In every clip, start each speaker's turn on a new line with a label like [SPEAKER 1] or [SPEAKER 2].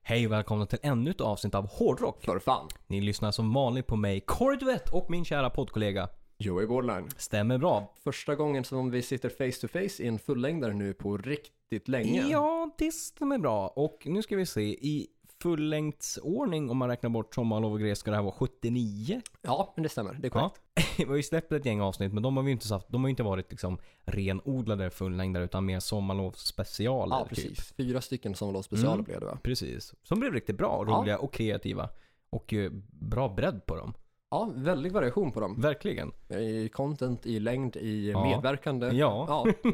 [SPEAKER 1] Hej och välkomna till ännu ett avsnitt av Hårdrock.
[SPEAKER 2] För fan.
[SPEAKER 1] Ni lyssnar som vanligt på mig, Kåre Duvett och min kära poddkollega.
[SPEAKER 2] Joey Borderline.
[SPEAKER 1] Stämmer bra.
[SPEAKER 2] Första gången som vi sitter face to face i en fullängdare nu på riktigt länge.
[SPEAKER 1] Ja, det stämmer bra. Och nu ska vi se. I fullängdsordning, om man räknar bort sommarlov och grej, ska det här vara 79.
[SPEAKER 2] Ja, men det stämmer. Det är
[SPEAKER 1] Ja.
[SPEAKER 2] korrekt.
[SPEAKER 1] Vi har ju släppt ett gäng avsnitt, men de har ju inte, haft, de har ju inte varit liksom renodlade fullängdare utan mer sommarlovsspecialer.
[SPEAKER 2] Ja,
[SPEAKER 1] typ.
[SPEAKER 2] precis. Fyra stycken sommarlovsspecialer
[SPEAKER 1] Mm.
[SPEAKER 2] blev det va?
[SPEAKER 1] precis. Som blev riktigt bra,
[SPEAKER 2] Ja.
[SPEAKER 1] roliga och kreativa. Och eh, bra bredd på dem.
[SPEAKER 2] Ja, väldig variation på dem.
[SPEAKER 1] Verkligen.
[SPEAKER 2] I content, i längd, i
[SPEAKER 1] Ja.
[SPEAKER 2] medverkande.
[SPEAKER 1] Ja,
[SPEAKER 2] Ja.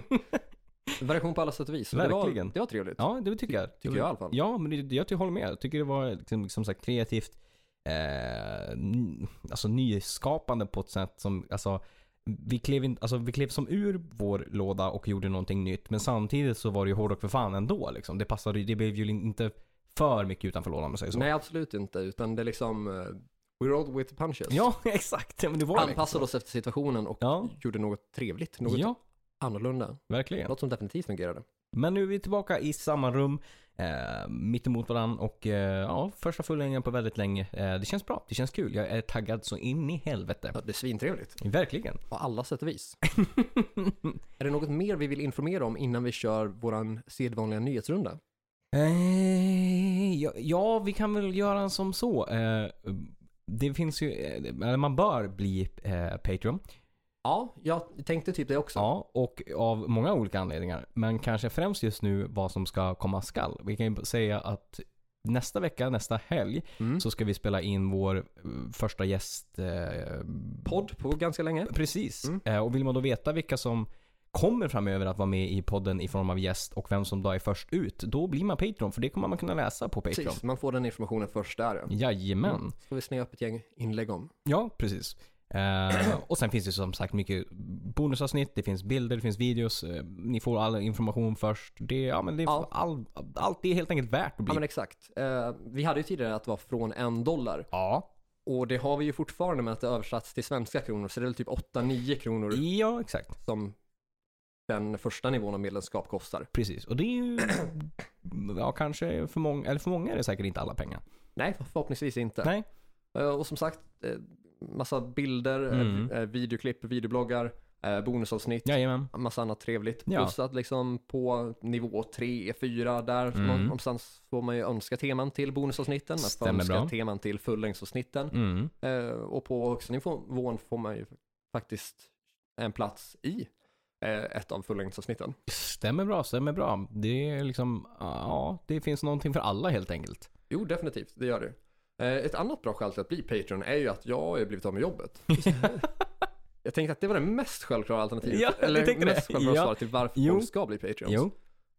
[SPEAKER 2] Variation på alla sätt och vis. Och Det
[SPEAKER 1] Verkligen.
[SPEAKER 2] var, det var trevligt.
[SPEAKER 1] ja det tycker jag.
[SPEAKER 2] Tycker jag i alla fall.
[SPEAKER 1] Ja, men det, jag ty- håller med. Jag tycker det var liksom, som sagt kreativt, eh, n- alltså nyskapande på ett sätt som, alltså vi klev, in, alltså vi klev som ur vår låda och gjorde någonting nytt. Men samtidigt så var det ju hårdrock för fan ändå liksom. Det passade ju- det blev ju inte för mycket utanför lådan om man säger så.
[SPEAKER 2] Nej, absolut inte. Utan det är liksom, eh, we rolled with the punches.
[SPEAKER 1] Ja, exakt. Ja, men det var det.
[SPEAKER 2] Anpassade oss efter situationen och
[SPEAKER 1] Ja.
[SPEAKER 2] gjorde något trevligt, något
[SPEAKER 1] Ja,
[SPEAKER 2] annorlunda.
[SPEAKER 1] verkligen.
[SPEAKER 2] Något som definitivt fungerade.
[SPEAKER 1] Men nu är vi tillbaka i samma rum, eh, mittemot varandra och eh, ja, första fullängden på väldigt länge. Eh, det känns bra, det känns kul. Jag är taggad så in i helvete.
[SPEAKER 2] Ja, det är svintrevligt.
[SPEAKER 1] Verkligen.
[SPEAKER 2] På alla sätt och vis. är det något mer vi vill informera om innan vi kör våran sedvanliga nyhetsrunda?
[SPEAKER 1] Eh, ja, ja, vi kan väl göra en som så. Eh, det finns ju, eh, eller man bör bli eh, Patreon.
[SPEAKER 2] Ja, jag tänkte typ det också.
[SPEAKER 1] Ja, och av många olika anledningar. Men kanske främst just nu vad som ska komma skall. Vi kan ju säga att nästa vecka, nästa helg,
[SPEAKER 2] Mm.
[SPEAKER 1] så ska vi spela in vår eh, första gäst. Eh,
[SPEAKER 2] Podd på ganska länge.
[SPEAKER 1] Precis.
[SPEAKER 2] Mm.
[SPEAKER 1] Eh, och vill man då veta vilka som kommer framöver att vara med i podden i form av gäst och vem som då är först ut, då blir man Patreon. För det kommer man kunna läsa på Patreon.
[SPEAKER 2] Precis, man får den informationen först där. Ja.
[SPEAKER 1] Jajamän.
[SPEAKER 2] Mm. Ska vi snäva upp ett gäng inlägg om.
[SPEAKER 1] Ja, precis. Eh, och sen finns det som sagt mycket bonusavsnitt, det finns bilder, det finns videos. eh, ni får all information först. Det, ja, men det,
[SPEAKER 2] Ja.
[SPEAKER 1] All, allt är helt enkelt värt att
[SPEAKER 2] Ja
[SPEAKER 1] bli.
[SPEAKER 2] men exakt. Eh, vi hade ju tidigare att det var från en dollar.
[SPEAKER 1] Ja,
[SPEAKER 2] Och det har vi ju fortfarande med att det översatts till svenska kronor. Så det är väl typ 8-9 kronor
[SPEAKER 1] ja, exakt.
[SPEAKER 2] som den första nivån av medlemskap kostar.
[SPEAKER 1] Precis. Och det är ju... Ja, kanske för många, eller för många är det säkert inte alla pengar.
[SPEAKER 2] Nej, förhoppningsvis inte.
[SPEAKER 1] Nej.
[SPEAKER 2] Eh, Och som sagt, eh, massa bilder, eh,
[SPEAKER 1] Mm.
[SPEAKER 2] eh, videoklipp, videobloggar, eh, bonusavsnitt,
[SPEAKER 1] Jajamän.
[SPEAKER 2] massa annat trevligt.
[SPEAKER 1] Ja.
[SPEAKER 2] Plus att liksom på nivå 3, 4 där
[SPEAKER 1] Mm.
[SPEAKER 2] mm. någonstans får man ju önska teman till bonusavsnitten. Man får
[SPEAKER 1] Stämmer
[SPEAKER 2] önska
[SPEAKER 1] bra.
[SPEAKER 2] teman till fullängdsavsnitten.
[SPEAKER 1] Mm.
[SPEAKER 2] Eh, Och på högsta nivån får man ju faktiskt en plats i eh, ett av fullängdsavsnitten.
[SPEAKER 1] Stämmer bra, stämmer bra. Det är liksom... Ja, det finns någonting för alla helt enkelt.
[SPEAKER 2] Jo, definitivt, det gör det. Eh, Ett annat bra skäl till att bli Patreon är ju att jag har ju blivit av med jobbet. Jag tänkte att det var det mest självklara alternativet.
[SPEAKER 1] Ja, jag
[SPEAKER 2] Eller
[SPEAKER 1] tänkte
[SPEAKER 2] mest
[SPEAKER 1] det.
[SPEAKER 2] självklara
[SPEAKER 1] Ja.
[SPEAKER 2] svaret till varför
[SPEAKER 1] Jo.
[SPEAKER 2] folk ska bli Patreons.
[SPEAKER 1] Jo.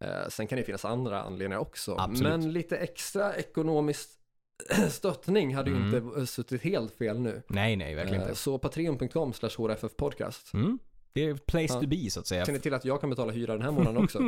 [SPEAKER 2] Eh, sen kan det finnas andra anledningar också.
[SPEAKER 1] Absolut.
[SPEAKER 2] Men lite extra ekonomisk stöttning hade ju
[SPEAKER 1] Mm.
[SPEAKER 2] inte suttit helt fel nu.
[SPEAKER 1] Nej, nej, verkligen
[SPEAKER 2] Eh,
[SPEAKER 1] inte.
[SPEAKER 2] så patreon.com slash hrffpodcast.
[SPEAKER 1] Mm. Det är place
[SPEAKER 2] Ja.
[SPEAKER 1] to be, så att säga.
[SPEAKER 2] Ser ni till att jag kan betala hyra den här månaden också?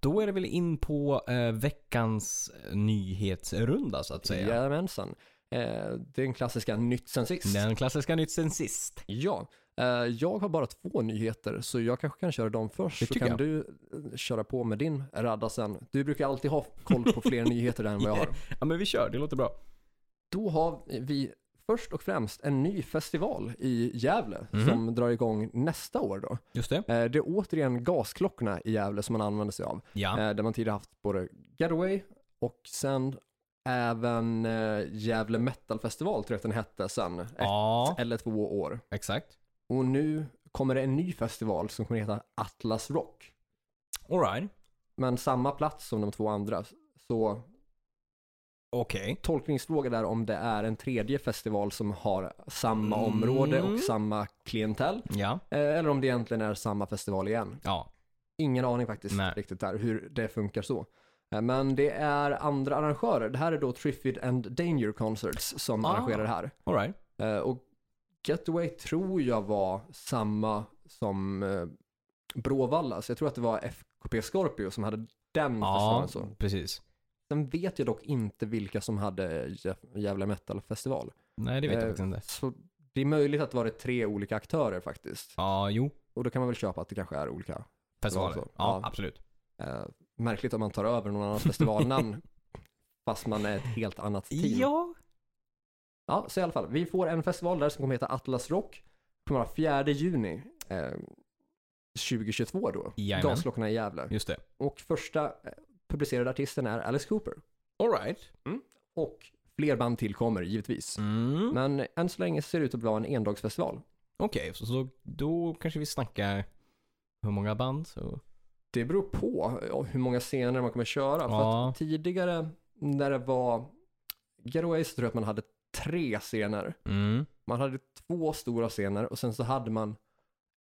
[SPEAKER 1] Då är det väl in på eh, veckans eh, nyhetsrunda så att säga.
[SPEAKER 2] Jajamensan. Eh, det är den klassiska nytt sen sist.
[SPEAKER 1] Den klassiska nytt sen sist.
[SPEAKER 2] Ja, eh, jag har bara två nyheter så jag kanske kan köra dem först.
[SPEAKER 1] Det
[SPEAKER 2] så
[SPEAKER 1] tycker
[SPEAKER 2] kan du eh, köra på med din radda sen. Du brukar alltid ha koll på fler nyheter än vad jag har.
[SPEAKER 1] Ja men vi kör, det låter bra.
[SPEAKER 2] Då har vi först och främst en ny festival i Gävle
[SPEAKER 1] Mhm.
[SPEAKER 2] som drar igång nästa år. Då.
[SPEAKER 1] Just det.
[SPEAKER 2] Eh, Det är återigen gasklockorna i Gävle som man använder sig av.
[SPEAKER 1] Ja.
[SPEAKER 2] eh, Där man tidigare haft både Getaway och sen även eh, Gävle Metal Festival tror jag att den hette sen. Ett
[SPEAKER 1] Ja,
[SPEAKER 2] eller två år.
[SPEAKER 1] exakt.
[SPEAKER 2] Och nu kommer det en ny festival som kommer heta Atlas Rock.
[SPEAKER 1] Alright.
[SPEAKER 2] Men samma plats som de två andra. Så
[SPEAKER 1] Okej.
[SPEAKER 2] tolkningsfråga där om det är en tredje festival som har samma
[SPEAKER 1] Mm.
[SPEAKER 2] område och samma klientell.
[SPEAKER 1] Ja.
[SPEAKER 2] eh, Eller om det egentligen är samma festival igen.
[SPEAKER 1] Ja.
[SPEAKER 2] Ingen aning faktiskt
[SPEAKER 1] Nej.
[SPEAKER 2] riktigt där hur det funkar så. Eh, Men det är andra arrangörer. Det här är då Triffid and Danger Concerts som
[SPEAKER 1] Ah.
[SPEAKER 2] arrangerar det här.
[SPEAKER 1] Alright.
[SPEAKER 2] Eh, Och Getaway tror jag var samma som eh, Bråvalla, så jag tror att det var FKP Scorpio som hade den
[SPEAKER 1] Ja,
[SPEAKER 2] festivalen. Så.
[SPEAKER 1] precis.
[SPEAKER 2] Sen vet jag dock inte vilka som hade Jä- Gävle Metal Festival.
[SPEAKER 1] Nej, det vet jag
[SPEAKER 2] Eh,
[SPEAKER 1] faktiskt inte.
[SPEAKER 2] Så det är möjligt att det var tre olika aktörer faktiskt.
[SPEAKER 1] Ja, jo.
[SPEAKER 2] Och då kan man väl köpa att det kanske är olika
[SPEAKER 1] festivaler.
[SPEAKER 2] så.
[SPEAKER 1] Ja,
[SPEAKER 2] Ja.
[SPEAKER 1] absolut.
[SPEAKER 2] Eh, märkligt om man tar över någon annans festivalnamn fast man är ett helt annat team.
[SPEAKER 1] Ja.
[SPEAKER 2] Ja, så i alla fall. Vi får en festival där som kommer heta Atlas Rock. Kommer vara 4 juni eh, 2022 då.
[SPEAKER 1] Jajamän.
[SPEAKER 2] Gasklockorna i Gävle.
[SPEAKER 1] Just det.
[SPEAKER 2] Och första eh, publicerade artisten är Alice Cooper.
[SPEAKER 1] Alright.
[SPEAKER 2] Och fler band tillkommer givetvis.
[SPEAKER 1] Mm.
[SPEAKER 2] Men än så länge ser det ut att vara en endagsfestival.
[SPEAKER 1] Okej, så, så då kanske vi snackar hur många band? Så.
[SPEAKER 2] Det beror på ja, hur många scener man kommer köra. För
[SPEAKER 1] Ja.
[SPEAKER 2] att tidigare när det var Getaway så tror jag att man hade tre scener.
[SPEAKER 1] Mm.
[SPEAKER 2] Man hade två stora scener och sen så hade man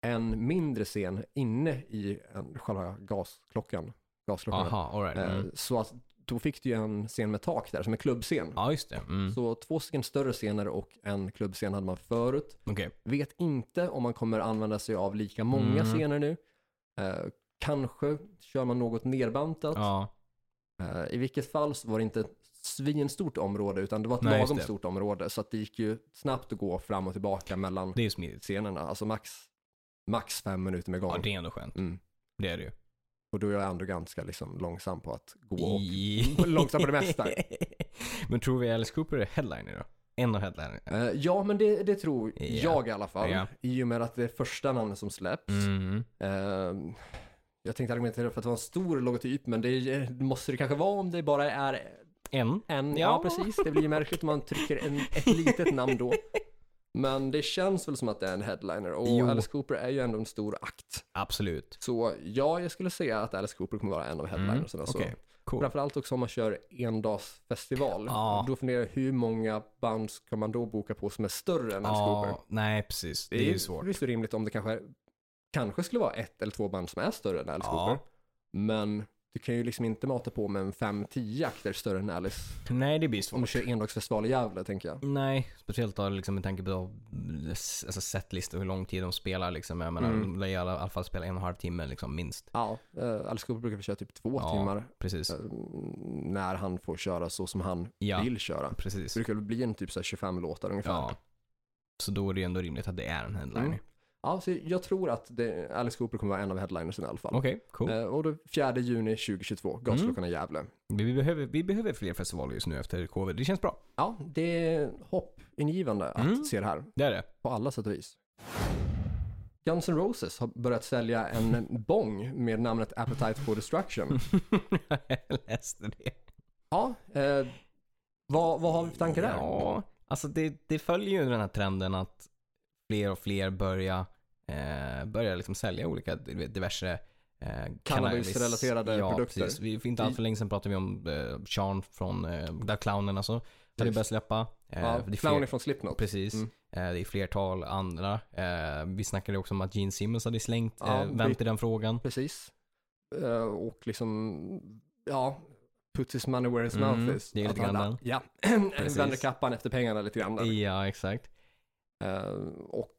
[SPEAKER 2] en mindre scen inne i en, själva gasklockan. gasklockan.
[SPEAKER 1] Aha, alright.
[SPEAKER 2] Eh,
[SPEAKER 1] Mm.
[SPEAKER 2] Så att då fick du ju en scen med tak där som en klubbscen.
[SPEAKER 1] Ja, just det. Mm.
[SPEAKER 2] Så två stycken större scener och en klubbscen hade man förut.
[SPEAKER 1] Okej.
[SPEAKER 2] Vet inte om man kommer använda sig av lika många
[SPEAKER 1] Mm.
[SPEAKER 2] scener nu. Eh, kanske kör man något nerbantat.
[SPEAKER 1] Ja.
[SPEAKER 2] Eh, I vilket fall så var det inte ett svinstort område utan det var ett
[SPEAKER 1] Nej, just
[SPEAKER 2] lagom
[SPEAKER 1] det.
[SPEAKER 2] stort område. Så att det gick ju snabbt att gå fram och tillbaka mellan
[SPEAKER 1] Det är smidigt.
[SPEAKER 2] scenerna. Alltså max, max fem minuter med gång.
[SPEAKER 1] Ja, det är ändå skönt.
[SPEAKER 2] Mm.
[SPEAKER 1] Det är det ju.
[SPEAKER 2] Och då är jag ändå ganska liksom långsam på att gå och
[SPEAKER 1] I...
[SPEAKER 2] långsam på det mesta.
[SPEAKER 1] Men tror vi Alice Cooper är headliner då? En av headliner.
[SPEAKER 2] Eh, Ja, men det, det tror
[SPEAKER 1] Ja.
[SPEAKER 2] jag i alla fall.
[SPEAKER 1] Ja.
[SPEAKER 2] I och med att det är första namnet som släpps.
[SPEAKER 1] Mm.
[SPEAKER 2] Ehm, jag tänkte argumentera för att det var en stor logotyp, men det är- det måste det kanske vara om det bara är
[SPEAKER 1] En?
[SPEAKER 2] en. Ja,
[SPEAKER 1] Ja.
[SPEAKER 2] precis. Det blir ju märkligt om man trycker en, ett litet namn då. Men det känns väl som att det är en headliner och
[SPEAKER 1] Jo.
[SPEAKER 2] Alice Cooper är ju ändå en stor akt.
[SPEAKER 1] Absolut.
[SPEAKER 2] Så ja, jag skulle säga att Alice Cooper kommer vara en av headlinersna.
[SPEAKER 1] Mm,
[SPEAKER 2] så.
[SPEAKER 1] okej. Cool.
[SPEAKER 2] Framförallt också om man kör endagsfestival.
[SPEAKER 1] Ja.
[SPEAKER 2] Då funderar jag hur många band ska man då boka på som är större än Alice Cooper?
[SPEAKER 1] Ja, nej precis. Det är ju svårt.
[SPEAKER 2] Visst är det rimligt om det kanske, kanske skulle vara ett eller två band som är större än Alice
[SPEAKER 1] Ja.
[SPEAKER 2] Cooper. Men du kan ju liksom inte mata på med en 5-10 akter större än Alice.
[SPEAKER 1] Nej, det blir
[SPEAKER 2] Om du
[SPEAKER 1] svårt.
[SPEAKER 2] kör endagsfestival i Gävle tänker jag.
[SPEAKER 1] Nej, speciellt då liksom med tanke på mm, alltså setlist och hur lång tid de spelar liksom. Jag menar,
[SPEAKER 2] Mm.
[SPEAKER 1] de lär i alla i alla fall spela en och en halv timme liksom minst.
[SPEAKER 2] Ja, eh, Alice Cooper brukar vi köra typ två
[SPEAKER 1] Ja.
[SPEAKER 2] timmar
[SPEAKER 1] Precis.
[SPEAKER 2] eh, när han får köra så som han
[SPEAKER 1] Ja,
[SPEAKER 2] vill köra. Det
[SPEAKER 1] precis.
[SPEAKER 2] brukar väl bli en typ så här 25 låtar ungefär.
[SPEAKER 1] Ja. Så då är det ju ändå rimligt att det är en headliner.
[SPEAKER 2] Mm. Ja, så jag tror att det, Alice Cooper kommer vara en av headlinersen i alla fall.
[SPEAKER 1] Okej, cool.
[SPEAKER 2] Eh, och då 4 juni 2022, Gasklockan i Gävle.
[SPEAKER 1] Vi, vi, behöver, vi behöver fler festivaler just nu efter covid. Det känns bra.
[SPEAKER 2] Ja, det är hoppingivande att
[SPEAKER 1] Mm.
[SPEAKER 2] se det här
[SPEAKER 1] Det är det.
[SPEAKER 2] på alla sätt och vis. Guns N' Roses har börjat sälja en bong med namnet Appetite for
[SPEAKER 1] Mm.
[SPEAKER 2] Destruction.
[SPEAKER 1] jag läste det.
[SPEAKER 2] Ja, eh, vad, vad har vi för tankar där?
[SPEAKER 1] Ja, alltså det, det följer ju den här trenden att fler och fler börjar, eh, börjar liksom sälja olika du vet, diverse eh,
[SPEAKER 2] Cannabis-relaterade
[SPEAKER 1] ja,
[SPEAKER 2] produkter.
[SPEAKER 1] Precis. Vi, för inte allt för länge sedan pratade vi om eh, Sean från eh, där clownen alltså. Hade
[SPEAKER 2] Precis.
[SPEAKER 1] börjat släppa. Eh,
[SPEAKER 2] Ja,
[SPEAKER 1] det är
[SPEAKER 2] Clown är
[SPEAKER 1] fler,
[SPEAKER 2] från Slipknot.
[SPEAKER 1] precis.
[SPEAKER 2] Mm.
[SPEAKER 1] Eh, det är flertal andra. Eh, vi snackade också om att Gene Simmons hade slängt
[SPEAKER 2] Ja,
[SPEAKER 1] eh, vänt
[SPEAKER 2] Brit-
[SPEAKER 1] i den frågan.
[SPEAKER 2] Precis. Eh, och liksom, ja, puts his money where his
[SPEAKER 1] Mm,
[SPEAKER 2] mouth is.
[SPEAKER 1] det är
[SPEAKER 2] Att
[SPEAKER 1] lite
[SPEAKER 2] han-
[SPEAKER 1] grann den.
[SPEAKER 2] Ja,
[SPEAKER 1] Precis.
[SPEAKER 2] vänder kappan efter pengarna lite grann. där.
[SPEAKER 1] Ja, exakt.
[SPEAKER 2] Eh, och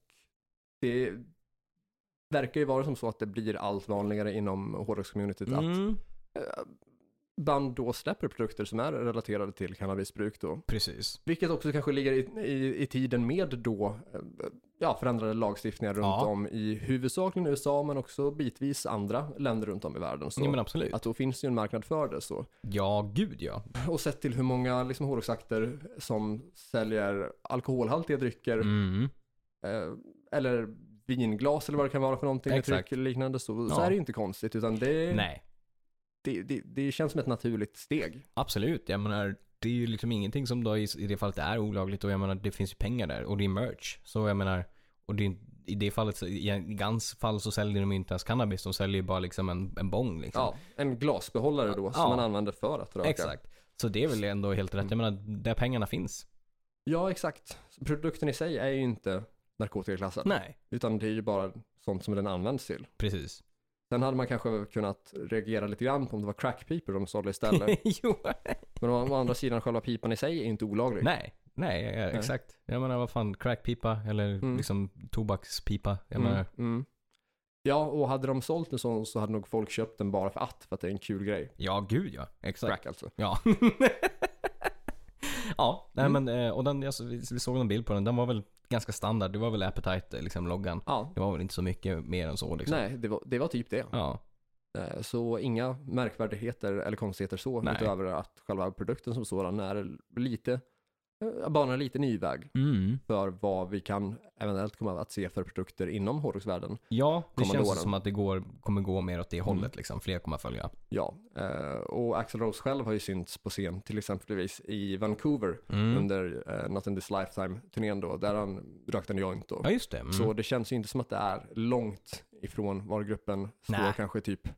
[SPEAKER 2] det verkar ju vara som så att det blir allt vanligare inom hårdrockscommunityt att
[SPEAKER 1] Mm,
[SPEAKER 2] eh, band då släpper produkter som är relaterade till cannabisbruk då.
[SPEAKER 1] precis.
[SPEAKER 2] Vilket också kanske ligger i, i, i tiden med då eh, ja, förändrade lagstiftningar runt
[SPEAKER 1] Ja.
[SPEAKER 2] om i huvudsakligen USA men också bitvis andra länder runt om i världen. Så
[SPEAKER 1] Ja, men absolut.
[SPEAKER 2] att då finns ju en marknad för det så.
[SPEAKER 1] Ja, gud ja.
[SPEAKER 2] Och sett till hur många liksom, hårdrocksakter som säljer alkoholhaltiga drycker
[SPEAKER 1] Mm.
[SPEAKER 2] eh, eller vinglas eller vad det kan vara för någonting med
[SPEAKER 1] Exakt.
[SPEAKER 2] tryck eller liknande så, så
[SPEAKER 1] Ja.
[SPEAKER 2] är det ju inte konstigt utan det,
[SPEAKER 1] Nej.
[SPEAKER 2] det, det, det känns som ett naturligt steg.
[SPEAKER 1] Absolut, jag menar det är ju liksom ingenting som då i, i det fallet är olagligt och jag menar det finns ju pengar där och det är merch. Så jag menar, och det, är- i det fallet, så- i i Guns fall så säljer de ju inte ens cannabis, de säljer ju bara liksom en, en bong liksom.
[SPEAKER 2] Ja, en glasbehållare då som
[SPEAKER 1] Ja.
[SPEAKER 2] man använder för att röka.
[SPEAKER 1] Exakt. Så det är väl ändå helt rätt,
[SPEAKER 2] Mm.
[SPEAKER 1] jag menar där pengarna finns.
[SPEAKER 2] Ja, exakt. Produkten i sig är ju inte narkotikaklassad,
[SPEAKER 1] Nej.
[SPEAKER 2] utan det är ju bara sånt som den används till.
[SPEAKER 1] Precis.
[SPEAKER 2] Sen hade man kanske kunnat reagera lite grann på om det var crackpipor de sålde istället.
[SPEAKER 1] jo.
[SPEAKER 2] Men å, å andra sidan, själva pipan i sig är inte olaglig.
[SPEAKER 1] Nej. Nej, ja, ja, exakt. Jag menar vad fan, crackpipa eller
[SPEAKER 2] Mm.
[SPEAKER 1] liksom tobakspipa. Jag
[SPEAKER 2] Mm,
[SPEAKER 1] menar,
[SPEAKER 2] mm. Ja, och hade de sålt en sån så hade nog folk köpt den bara för att, för att det är en kul grej.
[SPEAKER 1] ja gud ja. Exakt.
[SPEAKER 2] Crack alltså.
[SPEAKER 1] Ja. ja, nej
[SPEAKER 2] Mm.
[SPEAKER 1] men eh, och den, jag, så- vi vi såg en bild på den. Den var väl ganska standard. Det var väl Appetite, eh, liksom loggan.
[SPEAKER 2] Ja,
[SPEAKER 1] Det var väl inte så mycket mer än så liksom.
[SPEAKER 2] nej, det var, det var typ det.
[SPEAKER 1] Ja.
[SPEAKER 2] Eh, Så inga märkvärdigheter eller konstigheter så,
[SPEAKER 1] Nej.
[SPEAKER 2] utöver att själva produkten som sådan är lite, eh, banar en liten ny väg
[SPEAKER 1] Mm.
[SPEAKER 2] för vad vi kan eventuellt komma att se för produkter inom hårdrocksvärlden.
[SPEAKER 1] Ja, det
[SPEAKER 2] Kommande
[SPEAKER 1] känns
[SPEAKER 2] åren.
[SPEAKER 1] som att det går, kommer gå mer åt det
[SPEAKER 2] Mm.
[SPEAKER 1] hållet liksom. Fler kommer följa.
[SPEAKER 2] Ja, eh, och Axel Rose själv har ju synts på scen till exempelvis i Vancouver
[SPEAKER 1] Mm.
[SPEAKER 2] under eh, Not in this lifetime-turnén då, där han rökte en joint då.
[SPEAKER 1] Ja, just det. Mm.
[SPEAKER 2] Så det känns ju inte som att det är långt ifrån var gruppen står
[SPEAKER 1] Nej.
[SPEAKER 2] kanske typ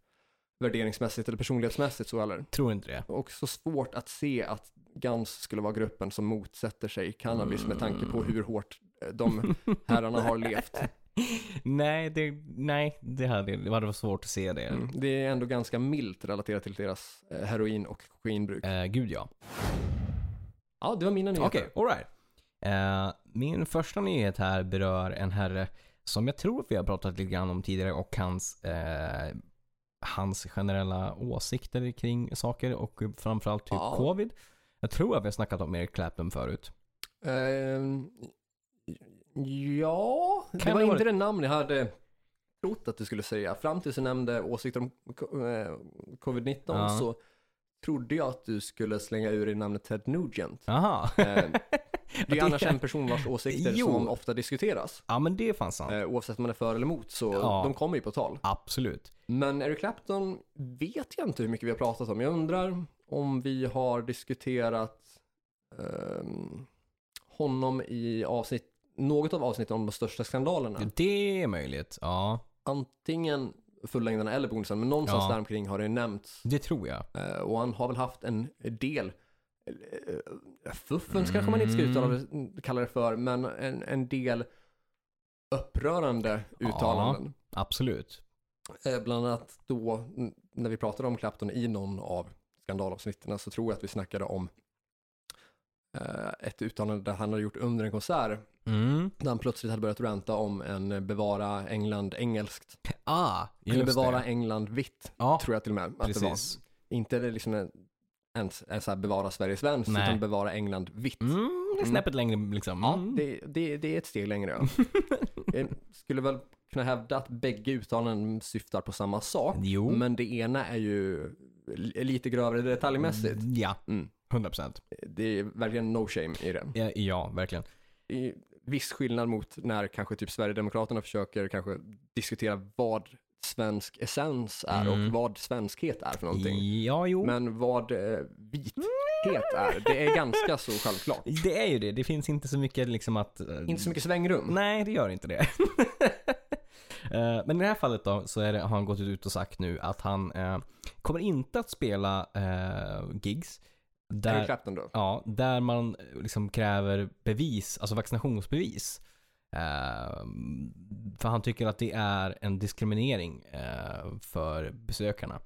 [SPEAKER 2] värderingsmässigt eller personlighetsmässigt så eller.
[SPEAKER 1] Tror inte det.
[SPEAKER 2] Och så svårt att se att Guns skulle vara gruppen som motsätter sig cannabis med tanke på
[SPEAKER 1] Mm.
[SPEAKER 2] hur hårt eh, de herrarna har levt.
[SPEAKER 1] Nej, det, nej det, hade, det hade varit svårt att se det.
[SPEAKER 2] Mm. Det är ändå ganska milt relaterat till deras eh, heroin och kokainbruk.
[SPEAKER 1] Eh, gud ja.
[SPEAKER 2] Ja, det var mina nyheter.
[SPEAKER 1] Okej, alright. Eh, min första nyhet här berör en herre som jag tror vi har pratat lite grann om tidigare och hans, eh, hans generella åsikter kring saker och framförallt typ
[SPEAKER 2] Ja.
[SPEAKER 1] covid. Jag tror att vi har snackat om Eric Clapton förut.
[SPEAKER 2] Ehm, ja,
[SPEAKER 1] Kan
[SPEAKER 2] det var
[SPEAKER 1] det
[SPEAKER 2] inte
[SPEAKER 1] vara-
[SPEAKER 2] det namn jag hade trott att du skulle säga. Fram tills du nämnde åsikter om co- eh, covid-19
[SPEAKER 1] Ja.
[SPEAKER 2] så trodde jag att du skulle slänga ur dig namnet Ted Nugent.
[SPEAKER 1] Aha.
[SPEAKER 2] Eh, det är ju
[SPEAKER 1] det-
[SPEAKER 2] annars en person vars åsikter
[SPEAKER 1] Jo.
[SPEAKER 2] som ofta diskuteras.
[SPEAKER 1] ja men det är fan sant.
[SPEAKER 2] Eh, oavsett om man är för eller emot så
[SPEAKER 1] Ja.
[SPEAKER 2] de kommer ju på tal.
[SPEAKER 1] Absolut.
[SPEAKER 2] Men Eric Clapton vet jag inte hur mycket vi har pratat om. Jag undrar om vi har diskuterat ehm, honom i avsnitt, något av avsnitten om de största skandalerna.
[SPEAKER 1] Mm. Det är möjligt. Ja,
[SPEAKER 2] Antingen fullängdarna eller bonusen, men någonstans
[SPEAKER 1] Ja.
[SPEAKER 2] där däromkring har det nämnts.
[SPEAKER 1] det tror jag.
[SPEAKER 2] Eh, och han har väl haft en del eh, fuffens kanske man inte ska uttala
[SPEAKER 1] Mm.
[SPEAKER 2] det, mm, kalla det för, men en, en del upprörande
[SPEAKER 1] Ja.
[SPEAKER 2] uttalanden.
[SPEAKER 1] Absolut.
[SPEAKER 2] Eh, Bland annat då n- när vi pratade om Clapton i någon av skandalavsnitten så tror jag att vi snackade om eh, ett uttalande där han hade gjort under en konsert
[SPEAKER 1] Mm.
[SPEAKER 2] där han plötsligt hade börjat ranta om en eh, bevara England engelskt.
[SPEAKER 1] Ah,
[SPEAKER 2] Eller
[SPEAKER 1] just
[SPEAKER 2] bevara
[SPEAKER 1] det.
[SPEAKER 2] England vitt,
[SPEAKER 1] Ja,
[SPEAKER 2] tror jag till och med att det var.
[SPEAKER 1] precis.
[SPEAKER 2] Inte det liksom en, en, en så här bevara Sverige svenskt,
[SPEAKER 1] Nej.
[SPEAKER 2] utan bevara England vitt.
[SPEAKER 1] Mm, det är snäppet längre liksom. Mm.
[SPEAKER 2] Det, det, det är ett steg längre. ja. Jag skulle väl kunna hävda att bägge uttalanden syftar på samma sak.
[SPEAKER 1] Jo.
[SPEAKER 2] Men det ena är ju li- lite grövre detaljmässigt.
[SPEAKER 1] Ja,
[SPEAKER 2] Mm.
[SPEAKER 1] 100 procent.
[SPEAKER 2] Det är verkligen no shame i det.
[SPEAKER 1] Ja, verkligen.
[SPEAKER 2] Det är viss skillnad mot när kanske typ Sverigedemokraterna försöker kanske diskutera vad svensk essens är
[SPEAKER 1] Mm.
[SPEAKER 2] och vad svenskhet är för någonting.
[SPEAKER 1] Ja, jo.
[SPEAKER 2] Men vad eh, vithet är, det är ganska så självklart.
[SPEAKER 1] Det är ju det. Det finns inte så mycket liksom att... eh,
[SPEAKER 2] Inte så mycket svängrum.
[SPEAKER 1] Nej, det gör inte det. Eh, Men i det här fallet då så är det, har han gått ut och sagt nu att han eh, kommer inte att spela eh, gigs
[SPEAKER 2] Eric
[SPEAKER 1] där,
[SPEAKER 2] Clapton då?
[SPEAKER 1] ja, där man eh, liksom kräver bevis, alltså vaccinationsbevis. Eh, för han tycker att det är en diskriminering eh, för besökarna.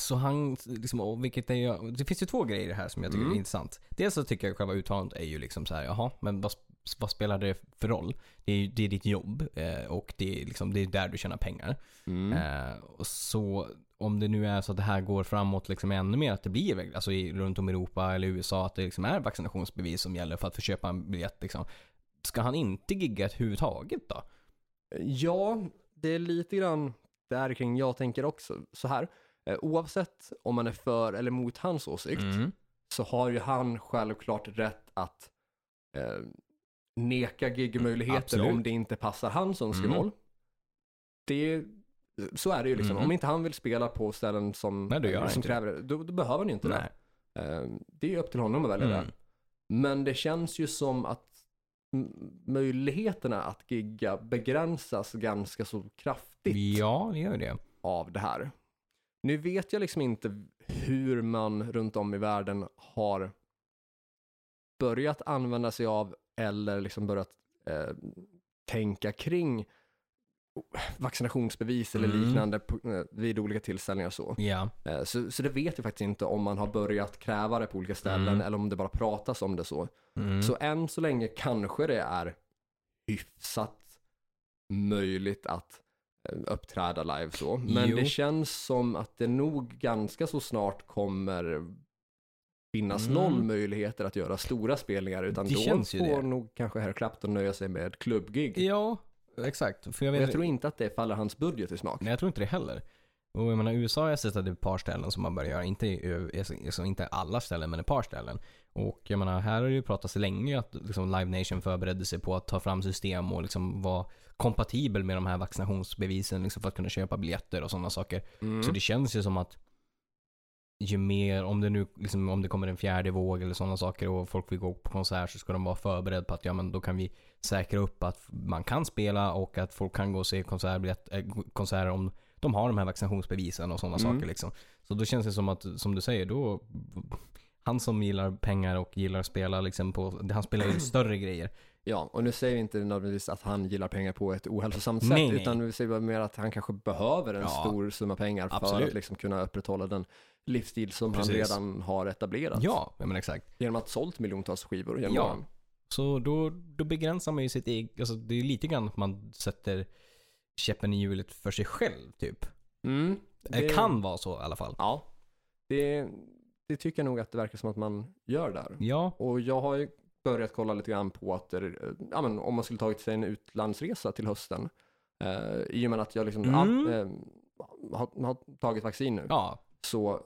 [SPEAKER 1] Så han, liksom, och vilket är ju, det finns ju två grejer här som jag tycker
[SPEAKER 2] Mm.
[SPEAKER 1] är intressant. Dels så tycker jag själva uttalandet är ju liksom så här, jaha, men vad, vad spelar det för roll? Det är, ju- det är ditt jobb eh, och det är, liksom, det är där du tjänar pengar. Eh, och så om det nu är så att det här går framåt liksom ännu mer, att det blir alltså, i, runt om i Europa eller USA, att det liksom är vaccinationsbevis som gäller för att få köpa en biljett. Liksom. Ska han inte gigga överhuvudtaget då?
[SPEAKER 2] Ja, det är lite grann där kring jag tänker också. Så här, eh, oavsett om man är för eller mot hans åsikt
[SPEAKER 1] Mm.
[SPEAKER 2] så har ju han självklart rätt att eh, neka gigmöjligheter
[SPEAKER 1] Absolut.
[SPEAKER 2] om det inte passar hans önskemål. Det, så är det ju liksom.
[SPEAKER 1] Mm.
[SPEAKER 2] Om inte han vill spela på ställen som,
[SPEAKER 1] Nej, det gör han
[SPEAKER 2] som
[SPEAKER 1] inte.
[SPEAKER 2] kräver det, då, då behöver han ju inte
[SPEAKER 1] Nej.
[SPEAKER 2] det. Eh, det är ju upp till honom att välja det.
[SPEAKER 1] Mm.
[SPEAKER 2] Men det känns ju som att m- möjligheterna att gigga begränsas ganska så kraftigt
[SPEAKER 1] Ja, det gör ju det.
[SPEAKER 2] av det här. Nu vet jag liksom inte hur man runt om i världen har börjat använda sig av eller liksom börjat eh, tänka kring vaccinationsbevis eller
[SPEAKER 1] Mm.
[SPEAKER 2] liknande på, eh, vid olika tillställningar och så.
[SPEAKER 1] Ja.
[SPEAKER 2] Eh, Så, så det vet jag faktiskt inte om man har börjat kräva det på olika ställen
[SPEAKER 1] Mm.
[SPEAKER 2] eller om det bara pratas om det så.
[SPEAKER 1] Mm.
[SPEAKER 2] Så än så länge kanske det är hyfsat möjligt att eh, uppträda live så. Men
[SPEAKER 1] Jo.
[SPEAKER 2] det känns som att det nog ganska så snart kommer finnas
[SPEAKER 1] Mm.
[SPEAKER 2] noll möjligheter att göra stora spelningar utan
[SPEAKER 1] Det
[SPEAKER 2] då
[SPEAKER 1] känns ju
[SPEAKER 2] får
[SPEAKER 1] det.
[SPEAKER 2] nog kanske herr Clapton nöja sig med ett klubbgig.
[SPEAKER 1] Ja, exakt. För jag,
[SPEAKER 2] Och
[SPEAKER 1] vet,
[SPEAKER 2] jag tror inte att det faller hans budget i smak.
[SPEAKER 1] Nej, jag tror inte det heller. Och jag menar, USA har jag sett att det är ett par ställen som man börjar göra. Inte, i ö- alltså, inte alla ställen, men ett par ställen. Och jag menar, här har det ju pratats länge att liksom, Live Nation förberedde sig på att ta fram system och liksom vara kompatibel med de här vaccinationsbevisen liksom, för att kunna köpa biljetter och sådana saker.
[SPEAKER 2] Mm.
[SPEAKER 1] Så det känns ju som att ju mer, om det nu liksom, om det kommer en fjärde våg eller sådana saker och folk vill gå på konsert så ska de vara förberedda på att ja men då kan vi säkra upp att man kan spela och att folk kan gå och se konsertbiljett, eh, konserter om de har de här vaccinationsbevisen och sådana
[SPEAKER 2] Mm.
[SPEAKER 1] saker liksom. Så då känns det som att, som du säger, då han som gillar pengar och gillar att spela liksom på, han spelar ju större grejer.
[SPEAKER 2] Ja, och nu säger vi inte nödvändigtvis att han gillar pengar på ett ohälsosamt sätt,
[SPEAKER 1] Nej, nej.
[SPEAKER 2] utan vi säger bara mer att han kanske behöver en
[SPEAKER 1] Ja,
[SPEAKER 2] stor summa pengar för
[SPEAKER 1] absolut.
[SPEAKER 2] att liksom kunna upprätthålla den livsstil som han
[SPEAKER 1] Precis.
[SPEAKER 2] redan har etablerat.
[SPEAKER 1] Ja, men exakt.
[SPEAKER 2] Genom att sålt miljontals skivor genom
[SPEAKER 1] Ja.
[SPEAKER 2] åren.
[SPEAKER 1] Så då, då begränsar man ju sitt eget, alltså det är lite grann att man sätter käppen i hjulet för sig själv typ.
[SPEAKER 2] Mm,
[SPEAKER 1] Det kan vara så i alla fall.
[SPEAKER 2] Ja, det, det tycker jag nog att det verkar som att man gör där.
[SPEAKER 1] Ja,
[SPEAKER 2] Och jag har ju börjat kolla lite grann på att eh, ja, men om man skulle tagit sig en utlandsresa till hösten. Eh, I och med att jag liksom
[SPEAKER 1] Mm.
[SPEAKER 2] ja, eh, har, har tagit vaccin nu.
[SPEAKER 1] ja
[SPEAKER 2] så,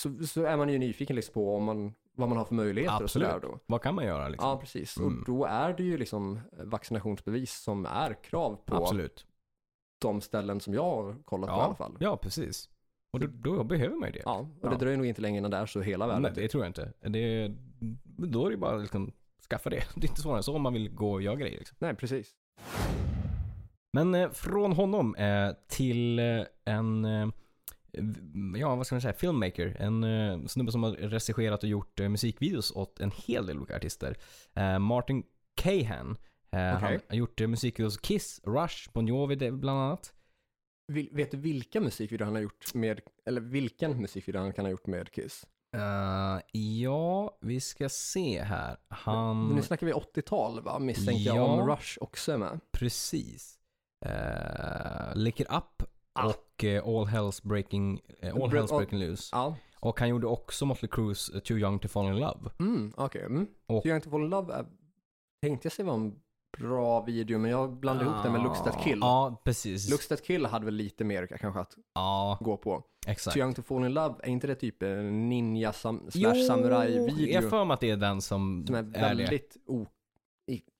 [SPEAKER 2] så, så är man ju nyfiken liksom på om man, vad man har för möjligheter och
[SPEAKER 1] Absolut.
[SPEAKER 2] sådär då.
[SPEAKER 1] vad kan man göra liksom?
[SPEAKER 2] Ja, precis.
[SPEAKER 1] Mm.
[SPEAKER 2] Och då är det ju liksom vaccinationsbevis som är krav på
[SPEAKER 1] Absolut.
[SPEAKER 2] de ställen som jag har kollat på i alla
[SPEAKER 1] Ja,
[SPEAKER 2] fall.
[SPEAKER 1] ja, precis. Och då, då behöver man ju det.
[SPEAKER 2] Ja, och
[SPEAKER 1] Ja.
[SPEAKER 2] det dröjer nog inte länge innan det är så i hela världen.
[SPEAKER 1] Nej, det tror jag inte. Det, då är det ju bara liksom, skaffa det. Det är inte svårare än så om man vill gå och göra grejer. Liksom.
[SPEAKER 2] Nej, precis.
[SPEAKER 1] Men eh, från honom eh, till eh, en, eh, v- ja vad ska man säga, filmmaker. En eh, snubbe som har regisserat och gjort eh, musikvideos åt en hel del olika artister. Eh, Martin Cahan. Eh, Han har gjort eh, musikvideos Kiss, Rush, Bon Jovi det- bland annat.
[SPEAKER 2] Vil, vet du vilka musikvideor han har gjort med, eller vilken musikvideo han kan ha gjort med Kiss?
[SPEAKER 1] Eh, ja, vi ska se här.
[SPEAKER 2] Men
[SPEAKER 1] Han,
[SPEAKER 2] nu snackar vi 80-tal va, misstänker jag,
[SPEAKER 1] Mm. Ja.
[SPEAKER 2] om Rush också är med.
[SPEAKER 1] precis. Eh, Lick It Up
[SPEAKER 2] Ah.
[SPEAKER 1] och eh, All Hells Breaking, eh, All
[SPEAKER 2] Bra-
[SPEAKER 1] Hells Breaking Loose.
[SPEAKER 2] Ja,
[SPEAKER 1] Och han gjorde också Motley Crues eh, Too Young To Fall In Love.
[SPEAKER 2] mm, okej. Mm.
[SPEAKER 1] Och-
[SPEAKER 2] Så jag inte fall in love är, tänkte jag sig var en bra video, men jag blandade ihop den med Looks That Kill.
[SPEAKER 1] Ah, Ja, precis.
[SPEAKER 2] Looks That Kill hade väl lite mer kanske att
[SPEAKER 1] ja,
[SPEAKER 2] gå på.
[SPEAKER 1] exakt.
[SPEAKER 2] Too Young To Fall In Love, är inte det typ en ninja sam-
[SPEAKER 1] Jo,
[SPEAKER 2] slash
[SPEAKER 1] Jag
[SPEAKER 2] samurai-video
[SPEAKER 1] har för mig att det är den som,
[SPEAKER 2] som är
[SPEAKER 1] det.
[SPEAKER 2] väldigt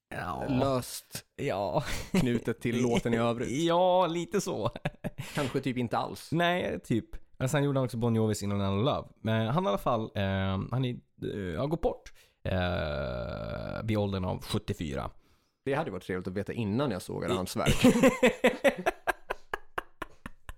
[SPEAKER 1] Ja.
[SPEAKER 2] olöst
[SPEAKER 1] Ja.
[SPEAKER 2] knutet till låten i övrigt?
[SPEAKER 1] ja, lite så.
[SPEAKER 2] Kanske typ inte alls.
[SPEAKER 1] Nej, typ. Men sen gjorde han också Bon Jovis innan han Love. Men han i alla fall, eh, han är, eh, har gått bort. Eh, vid åldern av 74.
[SPEAKER 2] Det hade ju varit trevligt att veta innan jag sågade hans verk.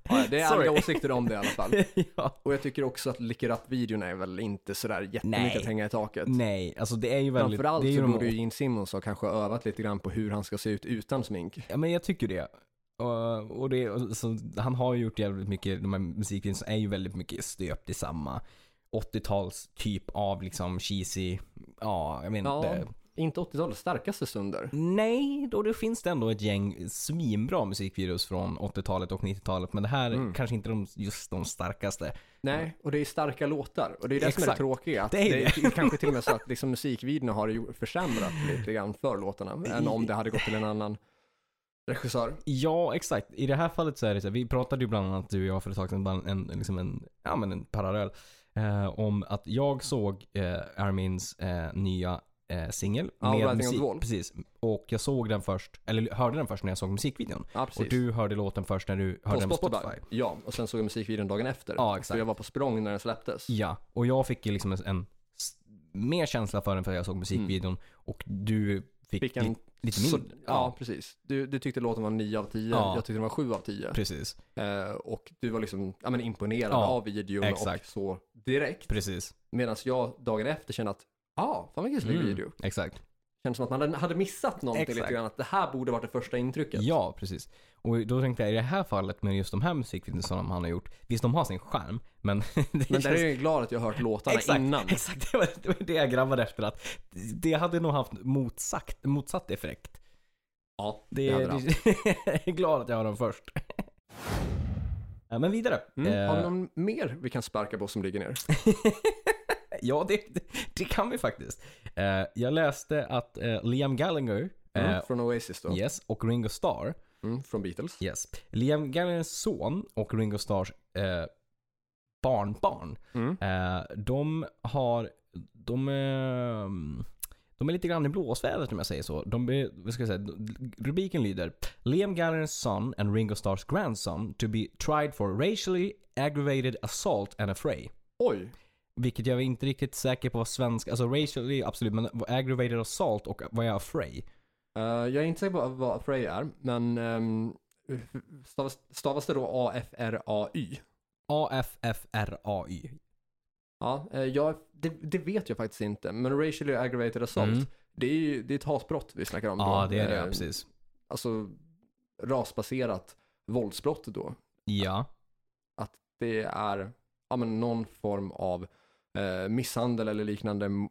[SPEAKER 2] Ja, det är
[SPEAKER 1] Sorry.
[SPEAKER 2] andra åsikter om det i alla fall.
[SPEAKER 1] ja.
[SPEAKER 2] Och jag tycker också att Lick It Up-videon är väl inte sådär jättemycket
[SPEAKER 1] Nej.
[SPEAKER 2] att hänga i taket.
[SPEAKER 1] Nej, alltså det är ju väldigt...
[SPEAKER 2] Framförallt
[SPEAKER 1] det är ju
[SPEAKER 2] så
[SPEAKER 1] de-
[SPEAKER 2] borde ju Gene Simmons ha kanske övat lite grann på hur han ska se ut utan smink.
[SPEAKER 1] Ja, men jag tycker det. Och, och det alltså, han har ju gjort jävligt mycket, de här musikvideorna är ju väldigt mycket stöpt i samma 80-tals typ av liksom cheesy, ja, Mm. jag vet
[SPEAKER 2] Ja.
[SPEAKER 1] inte.
[SPEAKER 2] Inte 80-talets starkaste stunder.
[SPEAKER 1] Nej, då det finns det ändå ett gäng svinbra musikvideos från 80-talet och 90-talet, men det här är
[SPEAKER 2] Mm.
[SPEAKER 1] kanske inte de, just de starkaste.
[SPEAKER 2] Nej, och det är starka låtar. Och det är det som är
[SPEAKER 1] Exakt.
[SPEAKER 2] det tråkiga. Att
[SPEAKER 1] Det är
[SPEAKER 2] det är kanske till och med så att liksom musikvideorna har ju försämrat lite grann för låtarna. Än om det hade gått till en annan regissör.
[SPEAKER 1] Ja, exakt. I det här fallet så är det så här, vi pratade ju bland annat du och jag för ett tag sedan, bland- en, liksom en, ja, men en parallell, eh, om att jag såg eh, Armins eh, nya eh, singel
[SPEAKER 2] Ja, Writing
[SPEAKER 1] med
[SPEAKER 2] on the
[SPEAKER 1] musik.
[SPEAKER 2] Wall.
[SPEAKER 1] Precis. Och jag såg den först, eller hörde den först när jag såg musikvideon.
[SPEAKER 2] Ja, precis.
[SPEAKER 1] Och du hörde låten först när du hörde
[SPEAKER 2] på
[SPEAKER 1] den på
[SPEAKER 2] Spotify.
[SPEAKER 1] Spotify.
[SPEAKER 2] Ja, och sen såg jag musikvideon dagen efter.
[SPEAKER 1] Ja, exakt.
[SPEAKER 2] För jag var på språng när den släpptes.
[SPEAKER 1] Ja, och jag fick ju liksom en, en s- mer känsla för den för att jag såg musikvideon och du fick,
[SPEAKER 2] Mm. Fick en
[SPEAKER 1] lite, lite
[SPEAKER 2] Så,
[SPEAKER 1] mindre.
[SPEAKER 2] ja. precis. Du, du tyckte låten var 9 av 10,
[SPEAKER 1] Ja.
[SPEAKER 2] jag tyckte den var 7 av 10.
[SPEAKER 1] precis.
[SPEAKER 2] Eh, och du var liksom ja, men imponerad
[SPEAKER 1] Ja,
[SPEAKER 2] av videon
[SPEAKER 1] exakt.
[SPEAKER 2] och så direkt.
[SPEAKER 1] Precis.
[SPEAKER 2] Medan jag dagen efter kände att, ja, ah, fan vilken snygg
[SPEAKER 1] Mm,
[SPEAKER 2] video.
[SPEAKER 1] Exakt.
[SPEAKER 2] Kändes som att man hade- hade missat någonting
[SPEAKER 1] Exakt.
[SPEAKER 2] lite grann, att det här borde varit det första intrycket.
[SPEAKER 1] Ja, precis. Och då tänkte jag i det här fallet med just de här musikvideorna som han har gjort. Visst, de har sin charm, men... det
[SPEAKER 2] Men
[SPEAKER 1] känns-
[SPEAKER 2] där är jag ju glad att jag har hört låtarna
[SPEAKER 1] exakt,
[SPEAKER 2] innan.
[SPEAKER 1] Exakt, det var, det var det jag grabbade efter. att Det hade nog haft motsagt, motsatt effekt.
[SPEAKER 2] Ja,
[SPEAKER 1] Det,
[SPEAKER 2] det hade det haft.
[SPEAKER 1] jag är glad att jag har dem först. Ja, Men vidare.
[SPEAKER 2] Mm. Har vi
[SPEAKER 1] Eh,
[SPEAKER 2] någon mer vi kan sparka på som ligger ner?
[SPEAKER 1] ja, det, det- det kan vi faktiskt. Eh, jag läste att eh, Liam Gallagher, eh,
[SPEAKER 2] Mm, Från Oasis då?
[SPEAKER 1] yes, och Ringo Starr
[SPEAKER 2] Mm, från Beatles.
[SPEAKER 1] Yes. Liam Gallaghers son och Ringo Starrs eh, barnbarn,
[SPEAKER 2] Mm.
[SPEAKER 1] eh, de har, de, eh, de är lite grann i blåsvädret om jag säger så. De, är- vad ska jag säga, rubriken lyder Liam Gallaghers son and Ringo Starrs grandson to be tried for racially aggravated assault and a fray.
[SPEAKER 2] Oj,
[SPEAKER 1] Vilket jag är inte riktigt säker på vad svenska, alltså racially absolut, men vad aggravated assault och vad är affray?
[SPEAKER 2] eh, jag är inte säker på vad Frey är, men ehm, stavas, stavas det då A-F-R-A-Y?
[SPEAKER 1] A-F-F-R-A-Y.
[SPEAKER 2] Ja, eh, jag, det, det vet jag faktiskt inte, men racially aggravated assault,
[SPEAKER 1] Mm.
[SPEAKER 2] det är ju det är ett hatbrott vi snackar om.
[SPEAKER 1] Ja,
[SPEAKER 2] då.
[SPEAKER 1] det är det,
[SPEAKER 2] Eh,
[SPEAKER 1] ja, precis.
[SPEAKER 2] Alltså rasbaserat våldsbrott då.
[SPEAKER 1] Ja.
[SPEAKER 2] det är ja, men någon form av eh, misshandel eller liknande m-